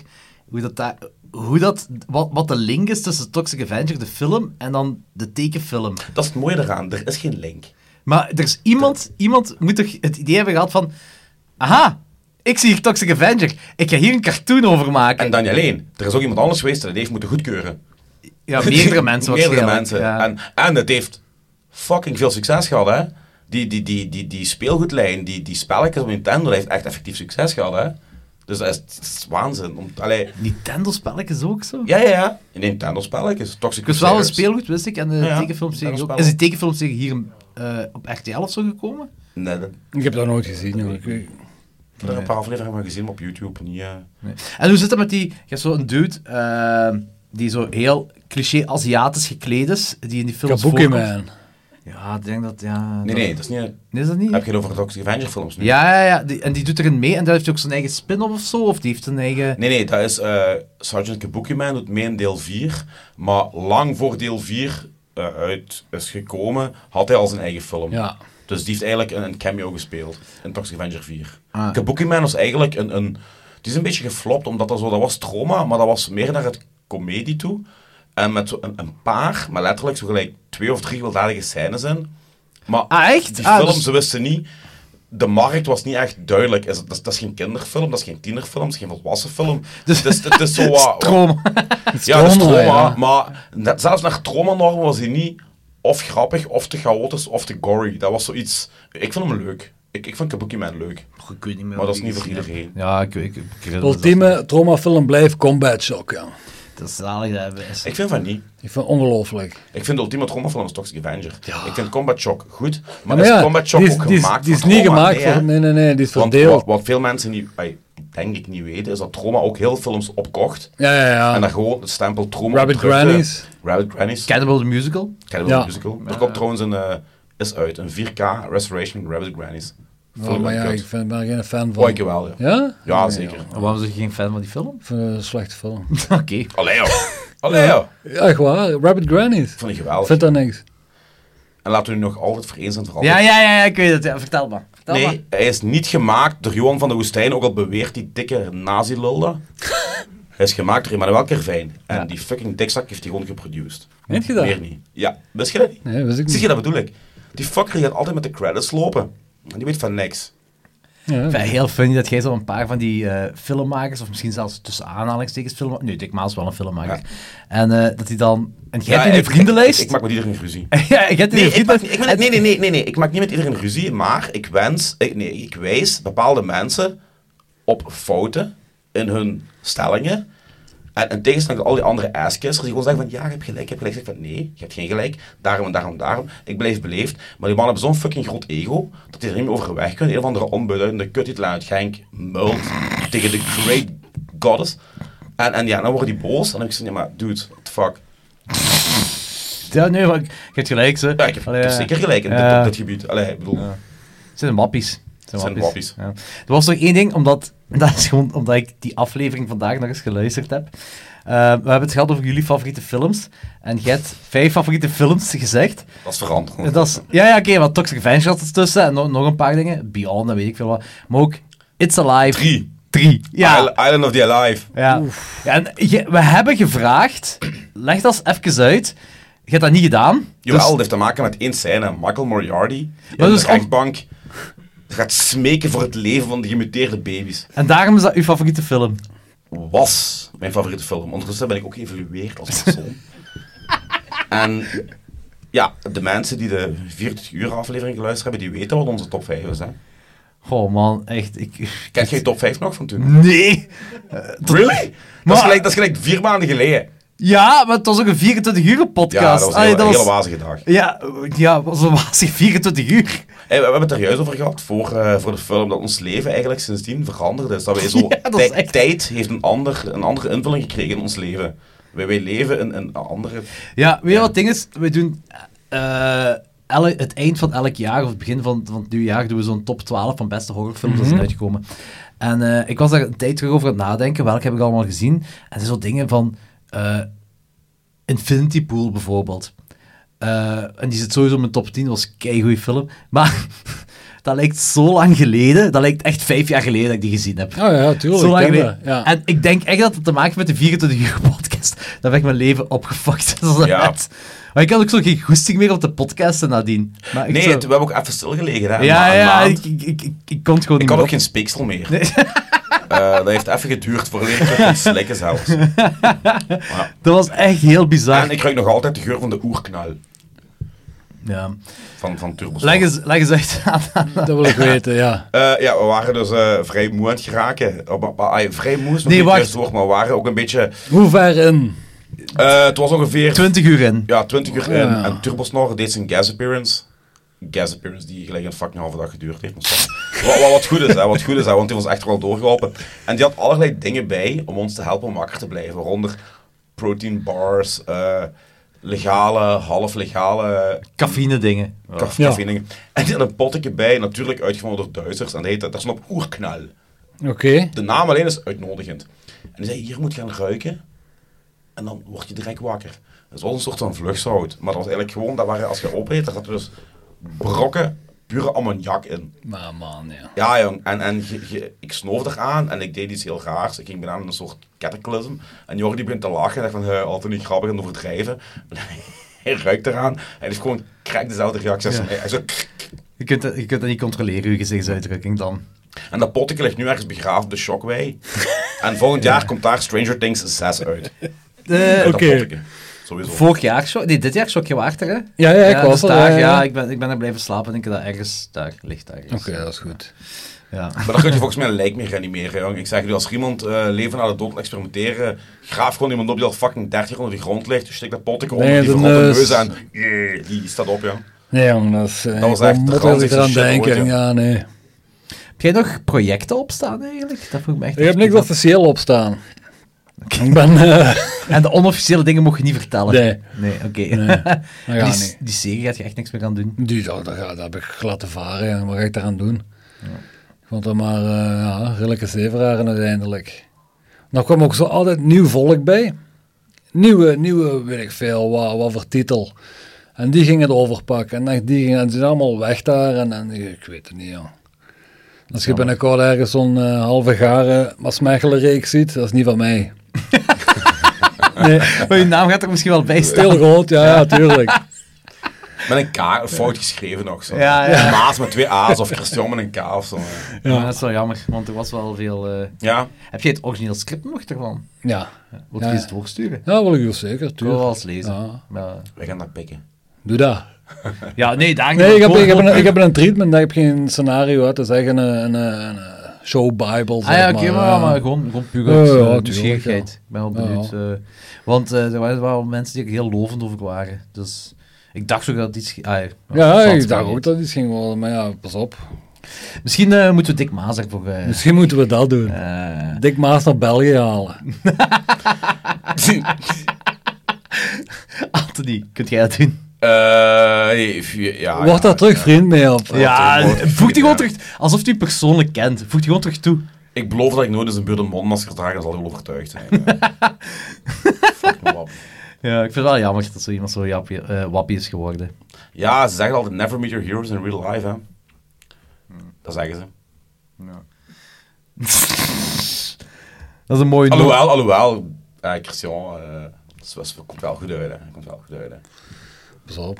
Speaker 3: Hoe dat daar... Hoe dat, wat, wat de link is tussen Toxic Avenger, de film, en dan de tekenfilm.
Speaker 4: Dat is het mooie eraan. Er is geen link.
Speaker 3: Maar er is iemand, iemand moet toch het idee hebben gehad van... Aha, ik zie hier Toxic Avenger. Ik ga hier een cartoon over maken.
Speaker 4: En dan niet alleen. Er is ook iemand anders geweest dat het heeft moeten goedkeuren.
Speaker 3: ja, meerdere mensen
Speaker 4: Meerdere
Speaker 3: waarschijnlijk.
Speaker 4: mensen.
Speaker 3: Ja.
Speaker 4: En, en het heeft fucking veel succes gehad, hè. Die, die, die, die, die speelgoedlijn, die, die spelletjes op Nintendo, dat heeft echt effectief succes gehad, hè. Dus dat is, dat is waanzin. Om, allee,
Speaker 3: Nintendo-spelletjes ook zo?
Speaker 4: ja, ja, ja. Nintendo-spelletjes. Toxic
Speaker 3: Ik wist Dus wel een
Speaker 4: Crusaders.
Speaker 3: speelgoed, wist ik. En de
Speaker 4: Ja, ja.
Speaker 3: tekenfilmserie ook.
Speaker 4: Nintendo-spellen.
Speaker 3: Is die tekenfilmserie hier eh, op RTL of zo gekomen?
Speaker 4: Nee, dat-
Speaker 5: Ik heb dat nooit gezien. joh. Ik-
Speaker 4: ik heb er een paar afleveringen van gezien maar op YouTube. Niet, eh.
Speaker 3: Nee. En hoe zit het met die... Je hebt zo'n dude eh, die zo heel cliché Aziatisch gekleed is, die in die films
Speaker 5: Kabuki
Speaker 3: voorkomt.
Speaker 5: Man.
Speaker 3: Ja, ik denk dat... Ja,
Speaker 4: Nee,
Speaker 3: dat-
Speaker 4: nee, dat is niet...
Speaker 3: Nee, Is dat niet?
Speaker 4: Heb je het over Toxic Avenger films nu?
Speaker 3: Ja, ja, ja. Die- en die doet erin mee en daar heeft hij ook zijn eigen spin-off of zo, of die heeft een eigen...
Speaker 4: Nee, nee, dat is eh, Sergeant Kabuki Man doet mee in deel 4. Maar lang voor deel 4 eh, uit is gekomen, had hij al zijn eigen film.
Speaker 5: Ja.
Speaker 4: Dus die heeft eigenlijk een, een cameo gespeeld in Toxic Avenger 4.
Speaker 3: Ah.
Speaker 4: Kabuki Man was eigenlijk een, een... Het is een beetje geflopt, omdat dat zo... Dat was trauma, maar dat was meer naar het comedie toe. En met zo een, een paar, maar letterlijk zo gelijk twee of drie gewelddadige scènes in. Maar
Speaker 3: Ah, echt?
Speaker 4: die
Speaker 3: Ah,
Speaker 4: film,
Speaker 3: dus-
Speaker 4: ze wisten niet... De markt was niet echt duidelijk. Is het- dat, is, dat is geen kinderfilm, dat is geen tienerfilm, dat is geen volwassen film. Dus het is, het is zo wat...
Speaker 3: Stroom.
Speaker 4: Ja, dat is
Speaker 5: Trauma,
Speaker 4: trauma.
Speaker 5: ja.
Speaker 4: Maar net, zelfs naar trauma-normen was hij niet of grappig, of te chaotisch, of te gory. Dat was zoiets... Ik vond hem leuk. Ik, ik vond Kabuki Man leuk.
Speaker 3: Ik weet niet meer
Speaker 4: Maar dat
Speaker 3: wat
Speaker 4: is
Speaker 3: ik
Speaker 4: niet voor
Speaker 3: gezien heb.
Speaker 4: iedereen.
Speaker 3: Ja, ik weet... Ik, ik, ik-
Speaker 5: Ultieme traumafilm blijft Combat Shock, ja.
Speaker 3: Dat is zalig, dat hebben.
Speaker 4: Ik vind van niet.
Speaker 5: Ik vind het ongelooflijk.
Speaker 4: Ik vind de ultieme traumafilm is Toxic Avenger. Ik vind Combat Shock goed, maar,
Speaker 5: Maar
Speaker 4: is
Speaker 5: ja,
Speaker 4: Combat Shock
Speaker 5: die is,
Speaker 4: ook
Speaker 5: die is-
Speaker 4: gemaakt
Speaker 5: die is
Speaker 4: voor
Speaker 5: niet
Speaker 4: trauma?
Speaker 5: gemaakt
Speaker 4: hè?
Speaker 5: voor... Nee, nee, nee, die is
Speaker 4: Want
Speaker 5: verdeeld.
Speaker 4: Wat, wat veel mensen niet, ay, denk ik niet weten, is dat trauma ook heel veel films opkocht.
Speaker 5: Ja, ja, ja.
Speaker 4: En daar gewoon het stempel trauma
Speaker 5: Rabbit
Speaker 4: op drukte.
Speaker 5: Grannies.
Speaker 4: Rabbit Grannies.
Speaker 3: Cannibal the Musical?
Speaker 4: Cannibal
Speaker 5: Ja.
Speaker 4: Musical. Er komt trouwens een... eh, is uit, een 4K restoration van Rabbit Grannies.
Speaker 5: Oh,
Speaker 4: Vond
Speaker 5: maar
Speaker 4: ik
Speaker 5: ja,
Speaker 4: kut.
Speaker 5: ik vind, ben er geen fan van.
Speaker 4: Oh, ik wel, ja.
Speaker 5: Ja?
Speaker 4: Ja, zeker.
Speaker 3: Waarom was je geen fan van die film?
Speaker 5: Ik vind het een slechte film.
Speaker 3: Oké.
Speaker 4: Allee, joh. Allee, joh.
Speaker 5: Echt waar, Rabbit Grannies.
Speaker 4: Ik vond het
Speaker 5: Ik
Speaker 4: geweldig.
Speaker 5: vind dat niks.
Speaker 4: En laten we nu nog altijd voor eens en voor altijd.
Speaker 3: Ja, ja, ja, ja, ik weet het. Ja, vertel maar. Vertel maar.
Speaker 4: Nee, hij is niet gemaakt door Johan van de Woestijn, ook al beweert die dikke nazi-lulde. hij is gemaakt door Emmanuel Kervijn. En die fucking dikzak heeft hij gewoon geproduced.
Speaker 5: Weet je dat?
Speaker 4: Meer niet. Ja, wist je dat niet?
Speaker 5: Nee, wist ik
Speaker 4: Zie
Speaker 5: niet.
Speaker 4: je, dat bedoel ik. Die fucker die gaat altijd met de credits lopen. En die weet van niks.
Speaker 3: Ik
Speaker 5: Ja.
Speaker 3: vind het heel funny dat jij zo een paar van die eh, filmmakers, of misschien zelfs tussen aanhalingstekens filmmakers, nu Dick Maas is wel een filmmaker,
Speaker 4: Ja.
Speaker 3: en eh, dat hij dan, en jij
Speaker 4: Ja,
Speaker 3: hebt in je
Speaker 4: ik-
Speaker 3: vriendenlijst?
Speaker 4: Ik, ik maak met iedereen ruzie.
Speaker 3: ja, jij hebt in
Speaker 4: Nee,
Speaker 3: je
Speaker 4: ik maak,
Speaker 3: vriendenlijst.
Speaker 4: ik maak- nee, nee, nee, nee, nee, ik maak niet met iedereen ruzie, maar ik wens, ik, nee, ik wijs bepaalde mensen op fouten in hun stellingen. En in tegenstelling tot al die andere asskissers die gewoon zeggen van ja, je hebt gelijk, je hebt gelijk. Ik Zeg van nee, je hebt geen gelijk. Daarom en daarom en daarom. Ik blijf beleefd. Maar die mannen hebben zo'n fucking groot ego dat die er niet meer over weg kunnen. Een of andere onbeduidende kut uit Genk mult tegen de great goddess. En, en ja, dan worden die boos. En dan heb ik zoiets van, ja, maar dude, what the fuck.
Speaker 3: Ja, nee, maar ik- je hebt gelijk, ze.
Speaker 4: Ja, ik heb, ik heb zeker gelijk in dit-
Speaker 3: Ja.
Speaker 4: dit, dit gebied. Allee, ik bedoel,
Speaker 3: Het zijn wappies. Het
Speaker 4: zijn wappies.
Speaker 3: Ja. Er was nog één ding, omdat, dat is gewoon omdat ik die aflevering vandaag nog eens geluisterd heb. Eh, we hebben het gehad over jullie favoriete films. En jij hebt vijf favoriete films gezegd.
Speaker 4: dat is veranderd.
Speaker 3: En Dat is, ja, ja oké, wat Toxic Revenge had er tussen. En nog, nog een paar dingen. Beyond, dat weet ik veel wat. Maar ook It's Alive.
Speaker 4: Drie.
Speaker 3: Drie. Ja.
Speaker 4: Isle- Island of the Alive.
Speaker 3: Ja. ja en je- we hebben gevraagd, leg dat eens even uit. Je hebt dat niet gedaan.
Speaker 4: Jawel,
Speaker 3: Dus-
Speaker 4: dat heeft te maken met één scène. Michael Moriarty in
Speaker 3: Maar
Speaker 4: de
Speaker 3: dus om-
Speaker 4: rechtbank gaat smeken voor het leven van de gemuteerde baby's.
Speaker 3: en daarom is dat uw favoriete film.
Speaker 4: Was mijn favoriete film. Ondertussen ben ik ook geëvalueerd als persoon. en ja, de mensen die de 24 uur aflevering geluisterd hebben, die weten wat onze top 5 is. Hè.
Speaker 3: Goh man, echt. Ik...
Speaker 4: Kent jij top 5 nog van toen?
Speaker 3: Nee!
Speaker 4: Really? Dat,
Speaker 3: Maar-
Speaker 4: is gelijk, dat is gelijk vier maanden geleden.
Speaker 3: Ja, maar het was ook een 24 uur
Speaker 4: Ja,
Speaker 3: podcast.
Speaker 4: dat was een
Speaker 3: Allee,
Speaker 4: hele,
Speaker 3: ah, was-
Speaker 4: hele wazige dag.
Speaker 3: Ja, ja, het was een wazig 24 uur.
Speaker 4: Hey, we we hebben het er juist over gehad voor, eh, voor de film dat ons leven eigenlijk sindsdien veranderd is. Dat wij zo,
Speaker 3: Ja, dat is
Speaker 4: tij-
Speaker 3: echt-
Speaker 4: Tijd heeft een, ander, een andere invulling gekregen in ons leven. Wij, wij leven in een andere...
Speaker 3: Ja, weet je wat het ding is? We doen eh, el- het eind van elk jaar, of het begin van, van het nieuwe jaar, doen we zo'n top 12 van beste horrorfilms dat
Speaker 5: Mhm.
Speaker 3: zijn uitgekomen. En eh, ik was daar een tijd terug over aan het nadenken, welke heb ik allemaal gezien. En er zijn zo dingen van eh, Infinity Pool bijvoorbeeld. Eh, en die zit sowieso in mijn top 10, dat was een goede film. Maar dat lijkt zo lang geleden, dat lijkt echt vijf jaar geleden dat ik die gezien heb.
Speaker 5: Oh ja, tuurlijk.
Speaker 3: Zo lang
Speaker 5: ik ken
Speaker 3: geleden.
Speaker 5: dat, Ja.
Speaker 3: En ik denk echt dat het te maken heeft met de 24 uur podcast. Dan ben ik mijn leven opgefokt. Dat is
Speaker 4: Ja.
Speaker 3: net. Maar ik had ook zo geen goesting meer op de podcasten nadien. Maar ik
Speaker 4: Nee,
Speaker 3: zo-
Speaker 4: het- we hebben ook even stilgelegen. Hè, een ma-
Speaker 3: ja,
Speaker 4: een
Speaker 3: ja, ik,
Speaker 4: maand.
Speaker 3: ik, ik, ik, ik kon het gewoon
Speaker 4: Ik
Speaker 3: niet
Speaker 4: had
Speaker 3: meer
Speaker 4: ook geen speeksel meer. Eh, dat heeft even geduurd voor ik het kon slikken zelfs.
Speaker 3: op. Dat was echt heel bizar.
Speaker 4: En ik ruik nog altijd de geur van de oerknal
Speaker 3: Ja.
Speaker 4: van, van Turbo Star.
Speaker 3: Leg, eens, leg eens uit aan.
Speaker 5: Dat wil ik weten, ja.
Speaker 4: Eh, ja, we waren dus eh, vrij moe aan het geraken. Op- op- ah, vrij moe is nog
Speaker 3: Nee,
Speaker 4: niet
Speaker 3: wacht.
Speaker 4: juist woord, maar we waren ook een beetje...
Speaker 5: Hoe ver in?
Speaker 4: eh, het was ongeveer
Speaker 3: 20 uur in.
Speaker 4: Ja, 20 uur in.
Speaker 5: Ja.
Speaker 4: En Turbosnor deed zijn guest appearance. Guest appearance die gelijk een fucking halve dag geduurd heeft. maar zwart. wat, wat, wat goed is, hè, wat goed is, hè, want die was echt wel doorgelopen. En die had allerlei dingen bij om ons te helpen om wakker te blijven. Waaronder protein bars, eh, legale, half legale
Speaker 3: Cafeïne dingen.
Speaker 4: kaf-
Speaker 5: Ja.
Speaker 4: café dingen. En die had een potje bij, natuurlijk uitgevonden door Duitsers. En dat heette, dat is op oerknal.
Speaker 5: Oké.
Speaker 4: De naam alleen is uitnodigend. En die zei, hier moet je gaan ruiken. En dan word je direct wakker. Dat was een soort van vluchtzout. Maar dat was eigenlijk gewoon, dat waren, als je opeet, daar zaten dus brokken pure ammoniak in.
Speaker 5: Maar man, ja.
Speaker 4: Ja jong, en, en je- je- ik snoof eraan en ik deed iets heel raars. Ik ging bijna in een soort cataclysm. En Jordi begint te lachen en dacht van, "Hè, altijd niet grappig en overdrijven. En hij ruikt eraan en hij heeft gewoon krek dezelfde reactie. als
Speaker 3: Ja.
Speaker 4: mij. Hij zo,
Speaker 3: Je kunt, dat- je kunt dat niet controleren, uw gezichtsuitdrukking dan.
Speaker 4: En dat potje ligt nu ergens begraven op de Shockwave. en volgend jaar komt daar Stranger Things 6 uit.
Speaker 3: Eh,
Speaker 4: Met dat
Speaker 5: Oké.
Speaker 4: potteke. Sowieso.
Speaker 3: Vorig jaar, zo, nee, dit jaar zo je wachter, hè?
Speaker 5: Ja, ja, ik was
Speaker 3: dus
Speaker 5: er,
Speaker 3: daar, ja,
Speaker 5: ja, ja.
Speaker 3: ik, ben, ik ben er blijven slapen. Ik denk dat ergens daar ligt. daar ergens.
Speaker 5: Oké, dat is goed.
Speaker 3: Ja.
Speaker 4: Maar dan kun je volgens mij een lijk meer reanimeren, jong. Ik zeg nu, als er iemand eh, leven naar de dood wil experimenteren, graaf gewoon iemand op die al fucking 30 onder de grond ligt. Dus stik dat potje onder
Speaker 5: Nee,
Speaker 4: die
Speaker 5: de
Speaker 4: verrotte
Speaker 5: neus.
Speaker 4: neus aan. Yeah, die staat op, ja.
Speaker 5: Nee, jong, dat is... eh,
Speaker 4: Dat was
Speaker 5: ik
Speaker 4: echt de
Speaker 5: moet
Speaker 4: ranzigste
Speaker 5: eraan
Speaker 4: shit ooit,
Speaker 5: denken.
Speaker 4: ja.
Speaker 5: ja, nee.
Speaker 3: Heb jij nog projecten opstaan eigenlijk? Dat vroeg me echt
Speaker 5: Ik heb
Speaker 3: af.
Speaker 5: niks officieel op staan. Ik ben... eh,
Speaker 3: En de onofficiële dingen mocht je niet vertellen.
Speaker 5: Nee.
Speaker 3: Nee, oké.
Speaker 5: dat gaat
Speaker 3: die,
Speaker 5: niet.
Speaker 3: die serie gaat je echt niks meer aan doen.
Speaker 5: Die, dat, dat, dat heb ik gelaten varen. En wat ga ik daaraan doen? Ik vond dat maar eh ja, redelijke zeveraren uiteindelijk. Dan kwam ook zo altijd nieuw volk bij. Nieuwe, nieuwe, weet ik veel, wat, wat voor titel. En die gingen het overpakken. En dan- die gingen, en ze zijn allemaal weg daar. En, en ik weet het niet, joh. Als je binnenkort ergens zo'n eh, halve gare Masmechelen-reeks ziet, dat is niet van mij. nee,
Speaker 3: Maar Oh, je naam gaat er misschien wel bij staan.
Speaker 5: heel groot, ja, ja, tuurlijk.
Speaker 4: Met een K, een fout geschreven nog. Zo.
Speaker 3: Ja, ja.
Speaker 4: Maas met twee A's of Christian met een K of zo.
Speaker 3: Ja, dat is wel jammer, want er was wel veel... eh,
Speaker 4: Ja,
Speaker 3: Heb jij het origineel script nog ervan?
Speaker 5: Ja,
Speaker 3: Moet
Speaker 5: Ja.
Speaker 3: je eens doorsturen?
Speaker 5: ja wil ik wel zeker,
Speaker 3: Ik wil
Speaker 5: tuurlijk.
Speaker 3: wel eens lezen.
Speaker 5: Ja.
Speaker 3: Maar-
Speaker 4: wij gaan dat pikken.
Speaker 5: Doe dat.
Speaker 3: Ja, nee, daar
Speaker 5: Nee, ik heb, ik, heb een, ik heb een treatment, daar heb geen scenario uit. Dat is echt een, een, een, een show bible,
Speaker 3: Ah
Speaker 5: zeg
Speaker 3: ja, oké, maar,
Speaker 5: ja.
Speaker 3: maar gewoon, gewoon puur
Speaker 5: Ja,
Speaker 3: uit
Speaker 5: ja,
Speaker 3: eh,
Speaker 5: tuurlijk,
Speaker 3: nieuwsgierigheid.
Speaker 5: ja.
Speaker 3: Ik ben wel benieuwd. eh, want eh, er waren wel mensen die er heel lovend over waren. Dus ik dacht ook dat het iets... ah,
Speaker 5: Ja,
Speaker 3: zat,
Speaker 5: ik dacht
Speaker 3: maar-
Speaker 5: ook dat iets ging worden, maar ja, pas op.
Speaker 3: Misschien eh, moeten we Dick Maas ervoor... eh,
Speaker 5: Misschien moeten we dat doen.
Speaker 3: eh,
Speaker 5: Dick Maas naar België halen.
Speaker 3: Anthony, kunt jij dat doen?
Speaker 4: Eh, ja,
Speaker 5: Wordt
Speaker 4: ja,
Speaker 5: daar terug vriend mee op?
Speaker 3: Ah, Ja,
Speaker 4: dat is mooi.
Speaker 3: voeg die gewoon
Speaker 4: Ja.
Speaker 3: terug... Alsof die persoonlijk kent. Voeg die gewoon terug toe.
Speaker 4: Ik beloof dat ik nooit eens een buurt een mondmasker draag, dan zal ik wel overtuigd zijn. ja. Fuck me op.
Speaker 3: Ja, ik vind het wel jammer dat zo iemand zo jappie- eh, wappie is geworden.
Speaker 4: Ja, ze zeggen altijd never meet your heroes in real life, hè. Dat zeggen ze.
Speaker 3: Dat is een mooie noot.
Speaker 4: Alhoewel, alhoewel, eh, Christian, eh, dat is- dat komt wel goed uit, hè. Dat Komt wel goed uit, hè.
Speaker 5: Oh, Pas op.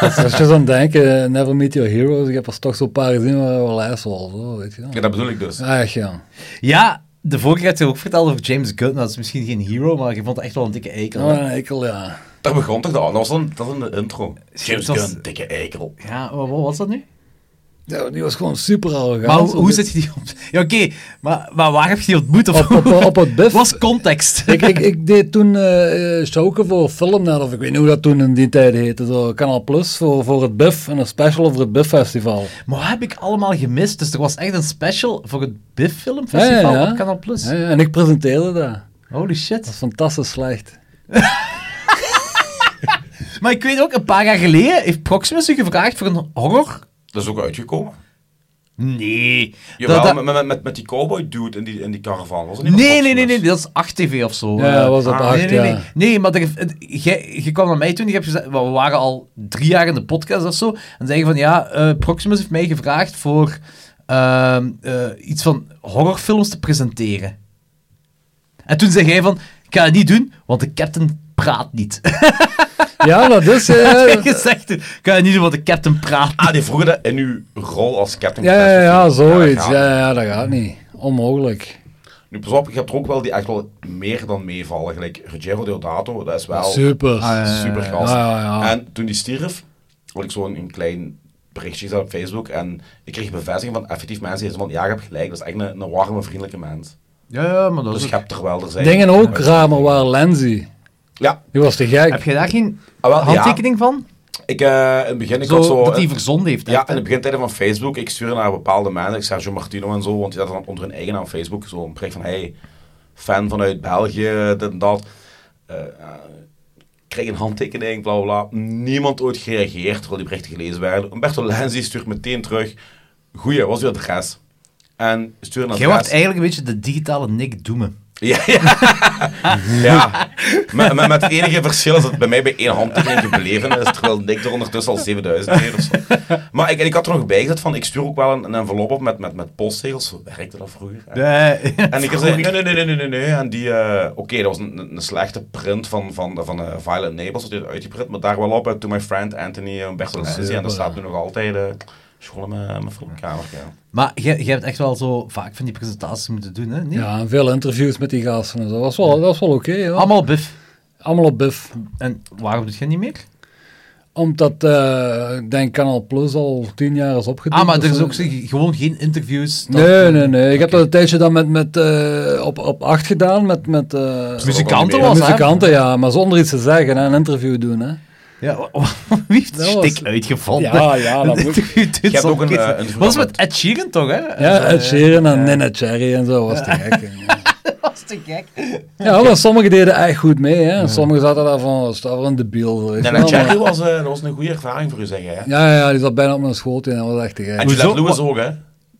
Speaker 5: Als als je zo aan het denken, eh, never meet your heroes, ik heb er toch zo'n paar gezien waar wel assholes, hoor, weet je wel.
Speaker 4: Ja, dat bedoel ik dus.
Speaker 5: Echt, ja.
Speaker 3: Ja, de vorige keer had je ook verteld over James Gunn. Dat is misschien geen hero, maar je vond het echt wel een dikke ekel.
Speaker 5: Oh, een eikel, ja.
Speaker 4: Daar begon toch de Dat was dan dat was in de intro. James
Speaker 3: Dat was-
Speaker 4: Gunn, dikke eikel.
Speaker 3: Ja, wa- wat was dat nu?
Speaker 5: Ja, Die was gewoon super arrogant.
Speaker 3: maar hoe,
Speaker 5: Op
Speaker 3: hoe
Speaker 5: het-
Speaker 3: zit je die op... Ja, oké, maar, maar waar heb je die ontmoet? Of...
Speaker 5: Op, op, op het bif.
Speaker 3: was context.
Speaker 5: ik, ik, ik deed toen eh eh, stoken voor filmnet, of ik weet niet hoe dat toen in die tijd heette. Zo, Kanaal Plus voor, voor het BIF en een special over het BIF Festival.
Speaker 3: Maar wat heb ik allemaal gemist? Dus er was echt een special voor het BIF Filmfestival
Speaker 5: Ja, ja, ja.
Speaker 3: op Kanaal Plus.
Speaker 5: Ja, ja, en ik presenteerde dat.
Speaker 3: Holy
Speaker 5: Dat is
Speaker 3: shit.
Speaker 5: fantastisch slecht.
Speaker 3: Maar ik weet ook, een paar jaar geleden heeft Proximus u gevraagd voor een horror...
Speaker 4: Dat is ook uitgekomen.
Speaker 3: Nee.
Speaker 4: Jawel,
Speaker 3: Dat- dat-
Speaker 4: Met, met, met, met die cowboy dude in die, in die caravan. Was dat niet met
Speaker 3: Nee, nee,
Speaker 4: Fox
Speaker 3: nee, nee,
Speaker 4: News?
Speaker 3: dat is 8TV of zo.
Speaker 5: Ja,
Speaker 3: Eh,
Speaker 5: was dat
Speaker 4: ah,
Speaker 5: acht,
Speaker 3: nee, nee, nee,
Speaker 5: ja.
Speaker 3: nee, maar er- het- jij- je kwam naar mij toen, je hebt gezegd, we waren al drie jaar in de podcast of zo, en zei je van, ja, eh, Proximus heeft mij gevraagd voor ehm, eh, iets van horrorfilms te presenteren. En toen zei jij van, ik ga het niet doen, want de captain praat niet.
Speaker 5: Ja, dat is... eh,
Speaker 3: Je gezegd, ik ga het niet doen, want de captain praat niet.
Speaker 4: Ah, die vroegen dat in uw rol als Captain
Speaker 5: ja, ja,
Speaker 4: Crash
Speaker 5: ja,
Speaker 4: of
Speaker 5: ja,
Speaker 4: zo.
Speaker 5: zoiets.
Speaker 4: dat
Speaker 5: Ja,
Speaker 4: gaat.
Speaker 5: ja, dat gaat niet. Onmogelijk.
Speaker 4: Nu, pas op, je hebt er ook wel die echt wel meer dan meevallen. Gelijk Rogero Deodato, dat is wel
Speaker 5: Super.
Speaker 4: super gast.
Speaker 5: Ah, ja, ja, ja.
Speaker 4: En toen die stierf, had ik zo'n een klein berichtje gezet op Facebook. En ik kreeg bevestiging van effectief mensen die zeiden van, ja, je hebt gelijk, dat is echt een, een warme, vriendelijke mens.
Speaker 3: Ja, ja, maar dat
Speaker 4: Dus
Speaker 3: is
Speaker 4: je
Speaker 3: ook-
Speaker 4: hebt er wel, er zijn...
Speaker 5: Dingen ook, Ramer waar Lenzi.
Speaker 4: Ja.
Speaker 5: Die was te gek.
Speaker 3: Heb jij daar geen
Speaker 4: Ah, wel, ja.
Speaker 3: handtekening van?
Speaker 4: Ik, eh, in het begin, ik
Speaker 3: Zo,
Speaker 4: had zo...
Speaker 3: dat hij verzonden heeft.
Speaker 4: Ja,
Speaker 3: echt, hè?
Speaker 4: in de begintijden van Facebook, ik stuurde naar bepaalde mensen, ik Sergio Martino en zo, want die zaten dan onder hun eigen naam op Facebook, zo een bericht van, hey, fan vanuit België, dit en dat. Eh, eh, kreeg een handtekening, bla bla bla. Niemand ooit gereageerd, terwijl die berichten gelezen werden. Umberto Lenzi stuurt meteen terug, goeie, wat is uw adres? En stuurde een
Speaker 3: Jij wordt
Speaker 4: adres.
Speaker 3: eigenlijk een beetje de digitale Nick Doemen.
Speaker 4: Ja, ja. ja. Met, met, met het enige verschil is dat het bij mij bij één handtekening gebleven is, terwijl ik er ondertussen al 7000 heeft of zo. Maar ik, en ik had er nog bij gezet van, ik stuur ook wel een, een envelop op met, met, met postzegels, zo werkte dat vroeger. En ik zei, nee, nee, nee, nee, nee, nee, nee. En die, eh, oké, dat was een, een slechte print van, van, van eh, Violent Neighbors, dat die uitgeprint, maar daar wel op, eh, To My Friend Anthony eh, Umberto Lenzi, en dat staat nu nog altijd, eh schoon in mijn, mijn filmkamer, ja.
Speaker 3: Maar jij, jij hebt echt wel zo vaak van die presentaties moeten doen, hè? Niet?
Speaker 5: Ja, en veel interviews met die gasten en zo. Dat was wel, dat was wel oké, hoor.
Speaker 3: Allemaal bif.
Speaker 5: Allemaal op BIF.
Speaker 3: En waarom doet jij niet meer?
Speaker 5: Omdat, eh, ik denk, Kanaal Plus al tien jaar is opgediend.
Speaker 3: Ah, maar
Speaker 5: of
Speaker 3: er is
Speaker 5: zo.
Speaker 3: ook zo- gewoon geen interviews. dat-
Speaker 5: Nee, nee, nee. Ik heb dat een tijdje dan met, met, eh, op, op acht gedaan, met, met eh,
Speaker 3: Muzikanten
Speaker 4: Ja,
Speaker 5: ja,
Speaker 3: was, hè?
Speaker 5: muzikanten, ja. Maar zonder iets te zeggen, hè, een interview doen, hè.
Speaker 3: Ja, wa- wa- wie heeft
Speaker 5: Dat
Speaker 3: die
Speaker 5: was-
Speaker 3: stik uitgevonden?
Speaker 5: Ja, ja, dat
Speaker 3: Een
Speaker 5: moet-
Speaker 3: interview doet
Speaker 4: hebt
Speaker 3: zo'n
Speaker 4: ook een,
Speaker 3: keer-
Speaker 4: eh, een
Speaker 3: Wat is
Speaker 4: verband.
Speaker 3: met Ed Sheeran, toch, hè?
Speaker 5: Ja, Ed Sheeran en Nina Cherry en zo was te gek. hè.
Speaker 3: Dat is te gek.
Speaker 5: Ja, maar sommigen deden echt goed mee, hè. En Sommigen zaten daar van, wat is dat voor een debiel. weet je
Speaker 4: En
Speaker 5: wel,
Speaker 4: dat
Speaker 5: maar-
Speaker 4: Jerry was, eh, dat was een goede ervaring voor u, zeg jij. hè?
Speaker 5: Ja, ja, die zat bijna op mijn schoot in. Dat was echt te gek.
Speaker 4: En Juliette
Speaker 3: Hoezo?
Speaker 4: Lewis ook, hè.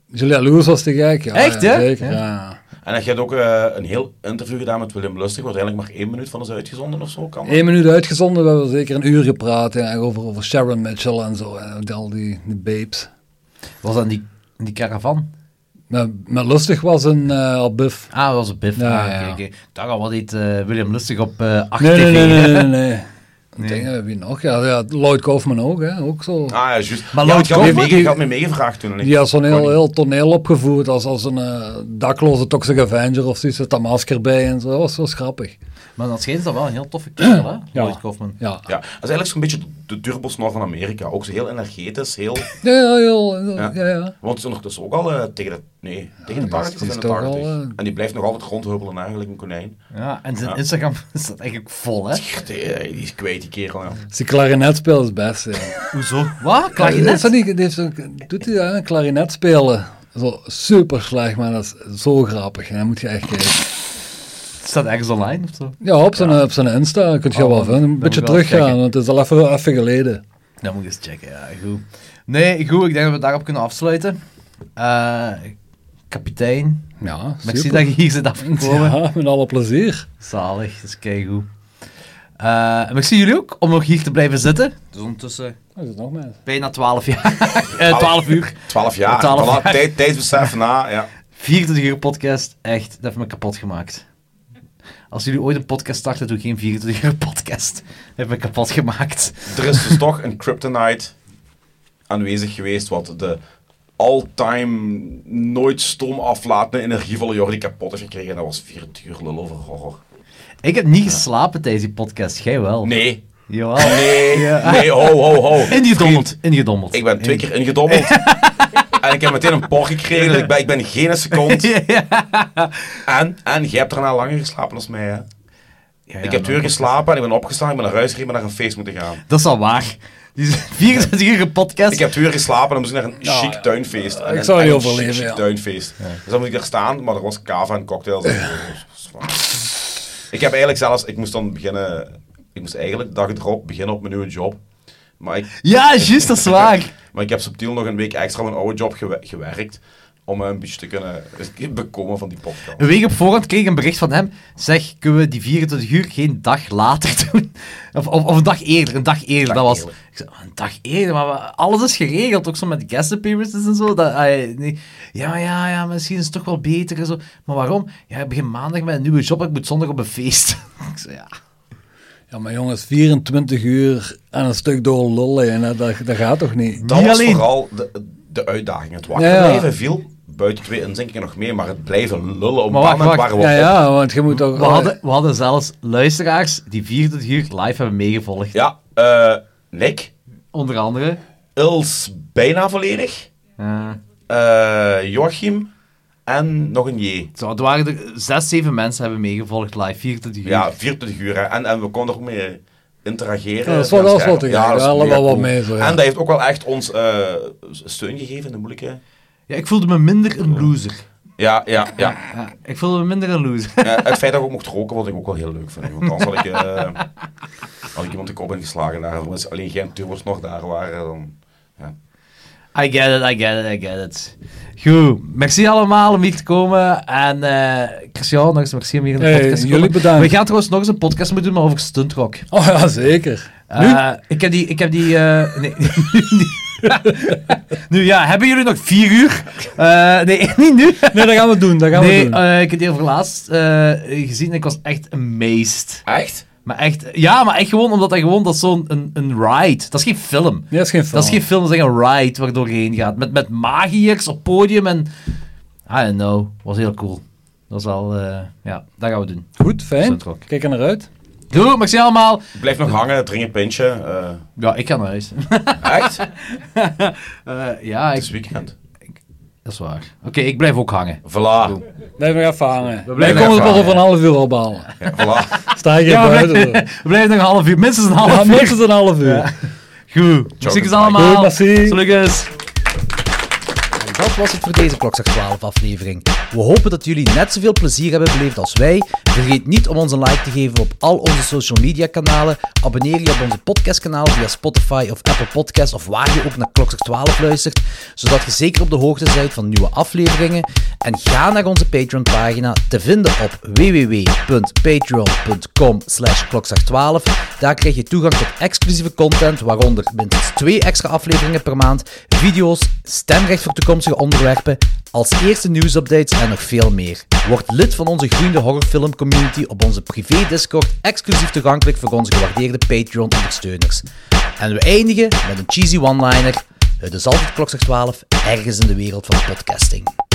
Speaker 5: Julia Lewis was te gek. Ja,
Speaker 3: Echt,
Speaker 5: ja,
Speaker 3: hè?
Speaker 5: Zeker,
Speaker 3: Ja.
Speaker 5: ja.
Speaker 4: En je hebt ook eh, een heel interview gedaan met Willem Lustig, wat eigenlijk maar één minuut van is uitgezonden of zo kan. dat?
Speaker 5: Eén minuut uitgezonden, we hebben zeker een uur gepraat. Ja, over, over Sharon Mitchell en zo. En al die, die babes.
Speaker 3: Was dat in die, in die caravan?
Speaker 5: Met, met Lustig was een eh op buff.
Speaker 3: Ah, dat was een bif.
Speaker 5: Ja,
Speaker 3: ah,
Speaker 5: ja.
Speaker 3: oké, oké. Ik dacht al, wat heet eh, William Lustig op eh 8
Speaker 5: Nee,
Speaker 3: TV?
Speaker 5: nee, nee, nee, nee. nee.
Speaker 3: Nee.
Speaker 5: Ik Denk, eh, wie nog? Ja, ja, Lloyd Kaufman ook, hè? Ook zo.
Speaker 4: Ah ja, juist.
Speaker 3: Maar
Speaker 4: ja,
Speaker 3: Lloyd
Speaker 4: ik had me
Speaker 5: Kaufman-
Speaker 4: meege- ik had me meegevraagd toen. en ik-
Speaker 5: Die had zo'n
Speaker 4: kon
Speaker 5: heel,
Speaker 4: niet.
Speaker 5: heel toneel opgevoerd als, als een eh, dakloze Toxic Avenger of zoiets. Met dat masker bij en zo. Dat was, was grappig.
Speaker 3: Maar dat schijnt dat wel een heel toffe kerel, hè?
Speaker 5: Ja.
Speaker 3: Lloyd Kaufman.
Speaker 5: Ja,
Speaker 4: Ja, dat is eigenlijk zo'n beetje de- de turbosnor van Amerika. Ook zo heel energetisch, heel...
Speaker 5: ja, ja. heel- ja,
Speaker 4: Ja.
Speaker 5: ja,
Speaker 4: Want het is ondertussen ook al eh, tegen de... Nee, tegen de
Speaker 5: dat is-
Speaker 4: 80 of
Speaker 5: is
Speaker 4: in de
Speaker 5: toch
Speaker 4: 80.
Speaker 5: al, eh,
Speaker 4: En die blijft nog altijd rondhubbelen eigenlijk, een konijn.
Speaker 3: Ja, en zijn
Speaker 4: Ja.
Speaker 3: Instagram is dat eigenlijk vol, hè?
Speaker 4: Die, eh, die is kwijt, die kerel. Ja.
Speaker 5: Dus die klarinet speelt is best. Ja.
Speaker 3: Hoezo? Wat? Klarinet?
Speaker 5: Is dat niet- die heeft zo'n- doet hij dat, een klarinet spelen? Zo super slecht, maar dat is zo grappig. En dan moet je echt kijken.
Speaker 3: Staat ergens online of zo?
Speaker 5: Ja, op zijn, op zijn Insta kun je
Speaker 3: Oh,
Speaker 5: wel
Speaker 3: dan-
Speaker 5: vinden.
Speaker 3: dan
Speaker 5: Een beetje
Speaker 3: moet ik wel
Speaker 5: teruggaan,
Speaker 3: kijken.
Speaker 5: want het is al even, even geleden.
Speaker 3: Dat moet ik eens checken, ja, goed. Nee, goed, ik denk dat we daarop kunnen afsluiten. Eh, kapitein,
Speaker 5: Ja,
Speaker 3: maar ik zie
Speaker 5: super.
Speaker 3: dat je hier zit afgekomen.
Speaker 5: Ja, met alle plezier.
Speaker 3: Zalig, dat is keigoed. Eh en ik zie jullie ook om nog hier te blijven zitten. Dus ondertussen
Speaker 5: Dat is het nog mensen.
Speaker 3: bijna 12 jaar. Eh 12 uur.
Speaker 4: 12 jaar.
Speaker 3: 12
Speaker 4: Voilà,
Speaker 3: jaar.
Speaker 4: Tijd, tijdsbesef na, ja.
Speaker 3: 24 uur podcast, echt, dat heeft me kapot gemaakt. Als jullie ooit een podcast starten, doe geen 24 uur podcast. Dat heeft me kapot gemaakt.
Speaker 4: Er is dus toch een kryptonite aanwezig geweest wat de all-time nooit stom aflatende energie van Jordi kapot heeft gekregen. En dat was 24 uur lul over horror.
Speaker 3: Ik heb niet geslapen tijdens die podcast, jij wel.
Speaker 4: Nee,
Speaker 3: Jawel.
Speaker 4: nee,
Speaker 3: Ja.
Speaker 4: nee, ho, ho, ho.
Speaker 3: Ingedommeld. Ingedommeld.
Speaker 4: Ik ben twee keer ingedommeld. en ik heb meteen een por gekregen. Dus ik ben, ik ben geen seconde. En, en jij hebt daarna langer geslapen dan mij, hè.
Speaker 3: Ja, ja,
Speaker 4: ik heb twee uur geslapen en ik ben opgestaan. Ik ben naar huis gereden, ik ben naar een feest moeten gaan.
Speaker 3: Dat is al waar. Die is 24 uur podcast.
Speaker 4: Ik heb twee uur geslapen en dan moest ik naar een chic tuinfeest. En
Speaker 5: ik
Speaker 4: een-
Speaker 5: zou niet
Speaker 4: en een chic,
Speaker 5: overleven,
Speaker 4: chic
Speaker 5: ja.
Speaker 4: tuinfeest. Dus dan moet ik daar staan, maar er was cava en cocktails. en- ik heb eigenlijk zelfs, ik moest dan beginnen, ik moest eigenlijk de dag erop beginnen op mijn nieuwe job. Maar ik,
Speaker 3: Ja, juist, dat is waar.
Speaker 4: maar ik heb subtiel nog een week extra op mijn oude job gewe- gewerkt. Om eh, een beetje te kunnen bekomen van die podcast.
Speaker 3: Een week op voorhand kreeg ik een bericht van hem. Zeg, kunnen we die 24 uur geen dag later doen? Of, of, of een dag eerder, een dag eerder. dat was,
Speaker 4: eerder.
Speaker 3: Ik zei, een dag eerder, maar we- alles is geregeld. Ook zo met guest appearances en zo. Dat, hij- nee. Ja, maar ja, ja, misschien is het toch wel beter en zo. Maar waarom? Ja, ik begin maandag met een nieuwe job. Ik moet zondag op een feest. ik zei, ja.
Speaker 5: Ja, maar jongens, 24 uur aan een stuk door lullen, en dat, dat, dat gaat toch niet?
Speaker 4: Dat
Speaker 3: Niet
Speaker 4: was
Speaker 3: alleen.
Speaker 4: vooral de, de uitdaging. Het wakker
Speaker 5: Ja, ja.
Speaker 4: blijven viel, buiten twee inzinkingen nog mee, maar het blijven lullen op
Speaker 3: Maar
Speaker 4: dat
Speaker 3: wacht,
Speaker 4: moment
Speaker 3: wacht.
Speaker 4: waren we
Speaker 5: Ja,
Speaker 4: op.
Speaker 5: ja, want je moet toch...
Speaker 3: We hadden, we hadden zelfs luisteraars die 24 uur live hebben meegevolgd.
Speaker 4: Ja, eh, Nick,
Speaker 3: Onder andere.
Speaker 4: Ils bijna volledig,
Speaker 3: eh,
Speaker 4: eh, Joachim en nog een J.
Speaker 3: zo, er waren er zes, zeven mensen hebben meegevolgd live, 24 uur.
Speaker 4: Ja, 24 uur. hè. En, en we konden er ook mee interageren.
Speaker 5: Ja, dat is wel- dat is wel te gek.
Speaker 4: dat is
Speaker 5: Ja, laat
Speaker 4: mega
Speaker 5: wel wat
Speaker 4: cool.
Speaker 5: mee, zo, ja.
Speaker 4: En dat heeft ook wel echt ons eh, steun gegeven in de moeilijke...
Speaker 3: Ja, ik voelde me minder een loser.
Speaker 4: Ja, ja, ja.
Speaker 3: Ja, ik voelde me minder een loser.
Speaker 4: Ja, het feit dat ik ook mocht roken, wat ik ook wel heel leuk vind. Want anders had ik, eh, had ik iemand de kop ingeslagen daar. Als alleen geen turbos nog daar waren, dan...
Speaker 3: I get it, I get it, I get it. Goed, merci allemaal om hier te komen. En eh Christian, nog eens merci om hier in de
Speaker 5: Hey,
Speaker 3: podcast te
Speaker 5: jullie
Speaker 3: komen.
Speaker 5: bedankt.
Speaker 3: We gaan trouwens nog eens een podcast moeten doen, maar over stuntrock.
Speaker 5: Oh ja, zeker.
Speaker 3: Eh, ik heb die... Ik heb die eh, nee, nu niet. nu ja, hebben jullie nog vier uur? Eh, nee, niet nu.
Speaker 5: Nee, dat gaan we doen, dat gaan we
Speaker 3: Nee,
Speaker 5: doen.
Speaker 3: eh, ik heb die over laatst eh, gezien en ik was echt amazed.
Speaker 4: Echt?
Speaker 3: Maar echt, ja, maar echt gewoon omdat hij gewoon, dat is zo'n een, een ride. Dat is geen film.
Speaker 5: nee, dat is geen film.
Speaker 3: Dat is geen film, dat is echt een ride waardoor je heen gaat. Met, met magiërs op podium en... I don't know, was heel cool. Dat is wel, eh, ja, dat gaan we doen.
Speaker 5: Goed, fijn.
Speaker 3: Stuntrock.
Speaker 5: Kijk er naar uit.
Speaker 3: Goed, merci allemaal.
Speaker 4: Blijf nog hangen, drink een pintje. eh.
Speaker 3: Ja, ik ga naar huis.
Speaker 4: echt? Het
Speaker 3: Eh, ja, ik,
Speaker 4: is weekend.
Speaker 3: dat is waar. Oké, ik blijf ook hangen.
Speaker 4: Voilà.
Speaker 5: Blijf nog even hangen. Wij
Speaker 3: blijven
Speaker 5: komen het
Speaker 4: even
Speaker 5: pas over een half uur ophalen.
Speaker 4: Ja, voilà.
Speaker 5: Sta je hier
Speaker 3: Ja, we
Speaker 5: buiten.
Speaker 3: blijven,
Speaker 5: hoor.
Speaker 3: we blijven nog een half uur. Minstens een half
Speaker 5: Ja,
Speaker 3: uur.
Speaker 5: minstens een half uur.
Speaker 3: Goed. Muziekjes allemaal.
Speaker 5: Goed, merci.
Speaker 3: Salutjes.
Speaker 6: En dat was het voor deze Klokzak 12 aflevering. We hopen dat jullie net zoveel plezier hebben beleefd als wij. Vergeet niet om ons een like te geven op al onze social media kanalen. Abonneer je op onze podcastkanaal via Spotify of Apple Podcasts of waar je ook naar Klokzak 12 luistert, zodat je zeker op de hoogte bent van nieuwe afleveringen. En ga naar onze Patreon pagina te vinden op www.patreon.com slash klokzak 12. Daar krijg je toegang tot exclusieve content, waaronder minstens twee extra afleveringen per maand, video's, stemrecht voor toekomstige onderwerpen, als eerste nieuwsupdates en nog veel meer. Word lid van onze groeiende horrorfilmcommunity op onze privé Discord, exclusief toegankelijk voor onze gewaardeerde Patreon-ondersteuners. En we Eh, dus eindigen met een cheesy one-liner. Het is altijd klokzak 12, ergens in de wereld van podcasting.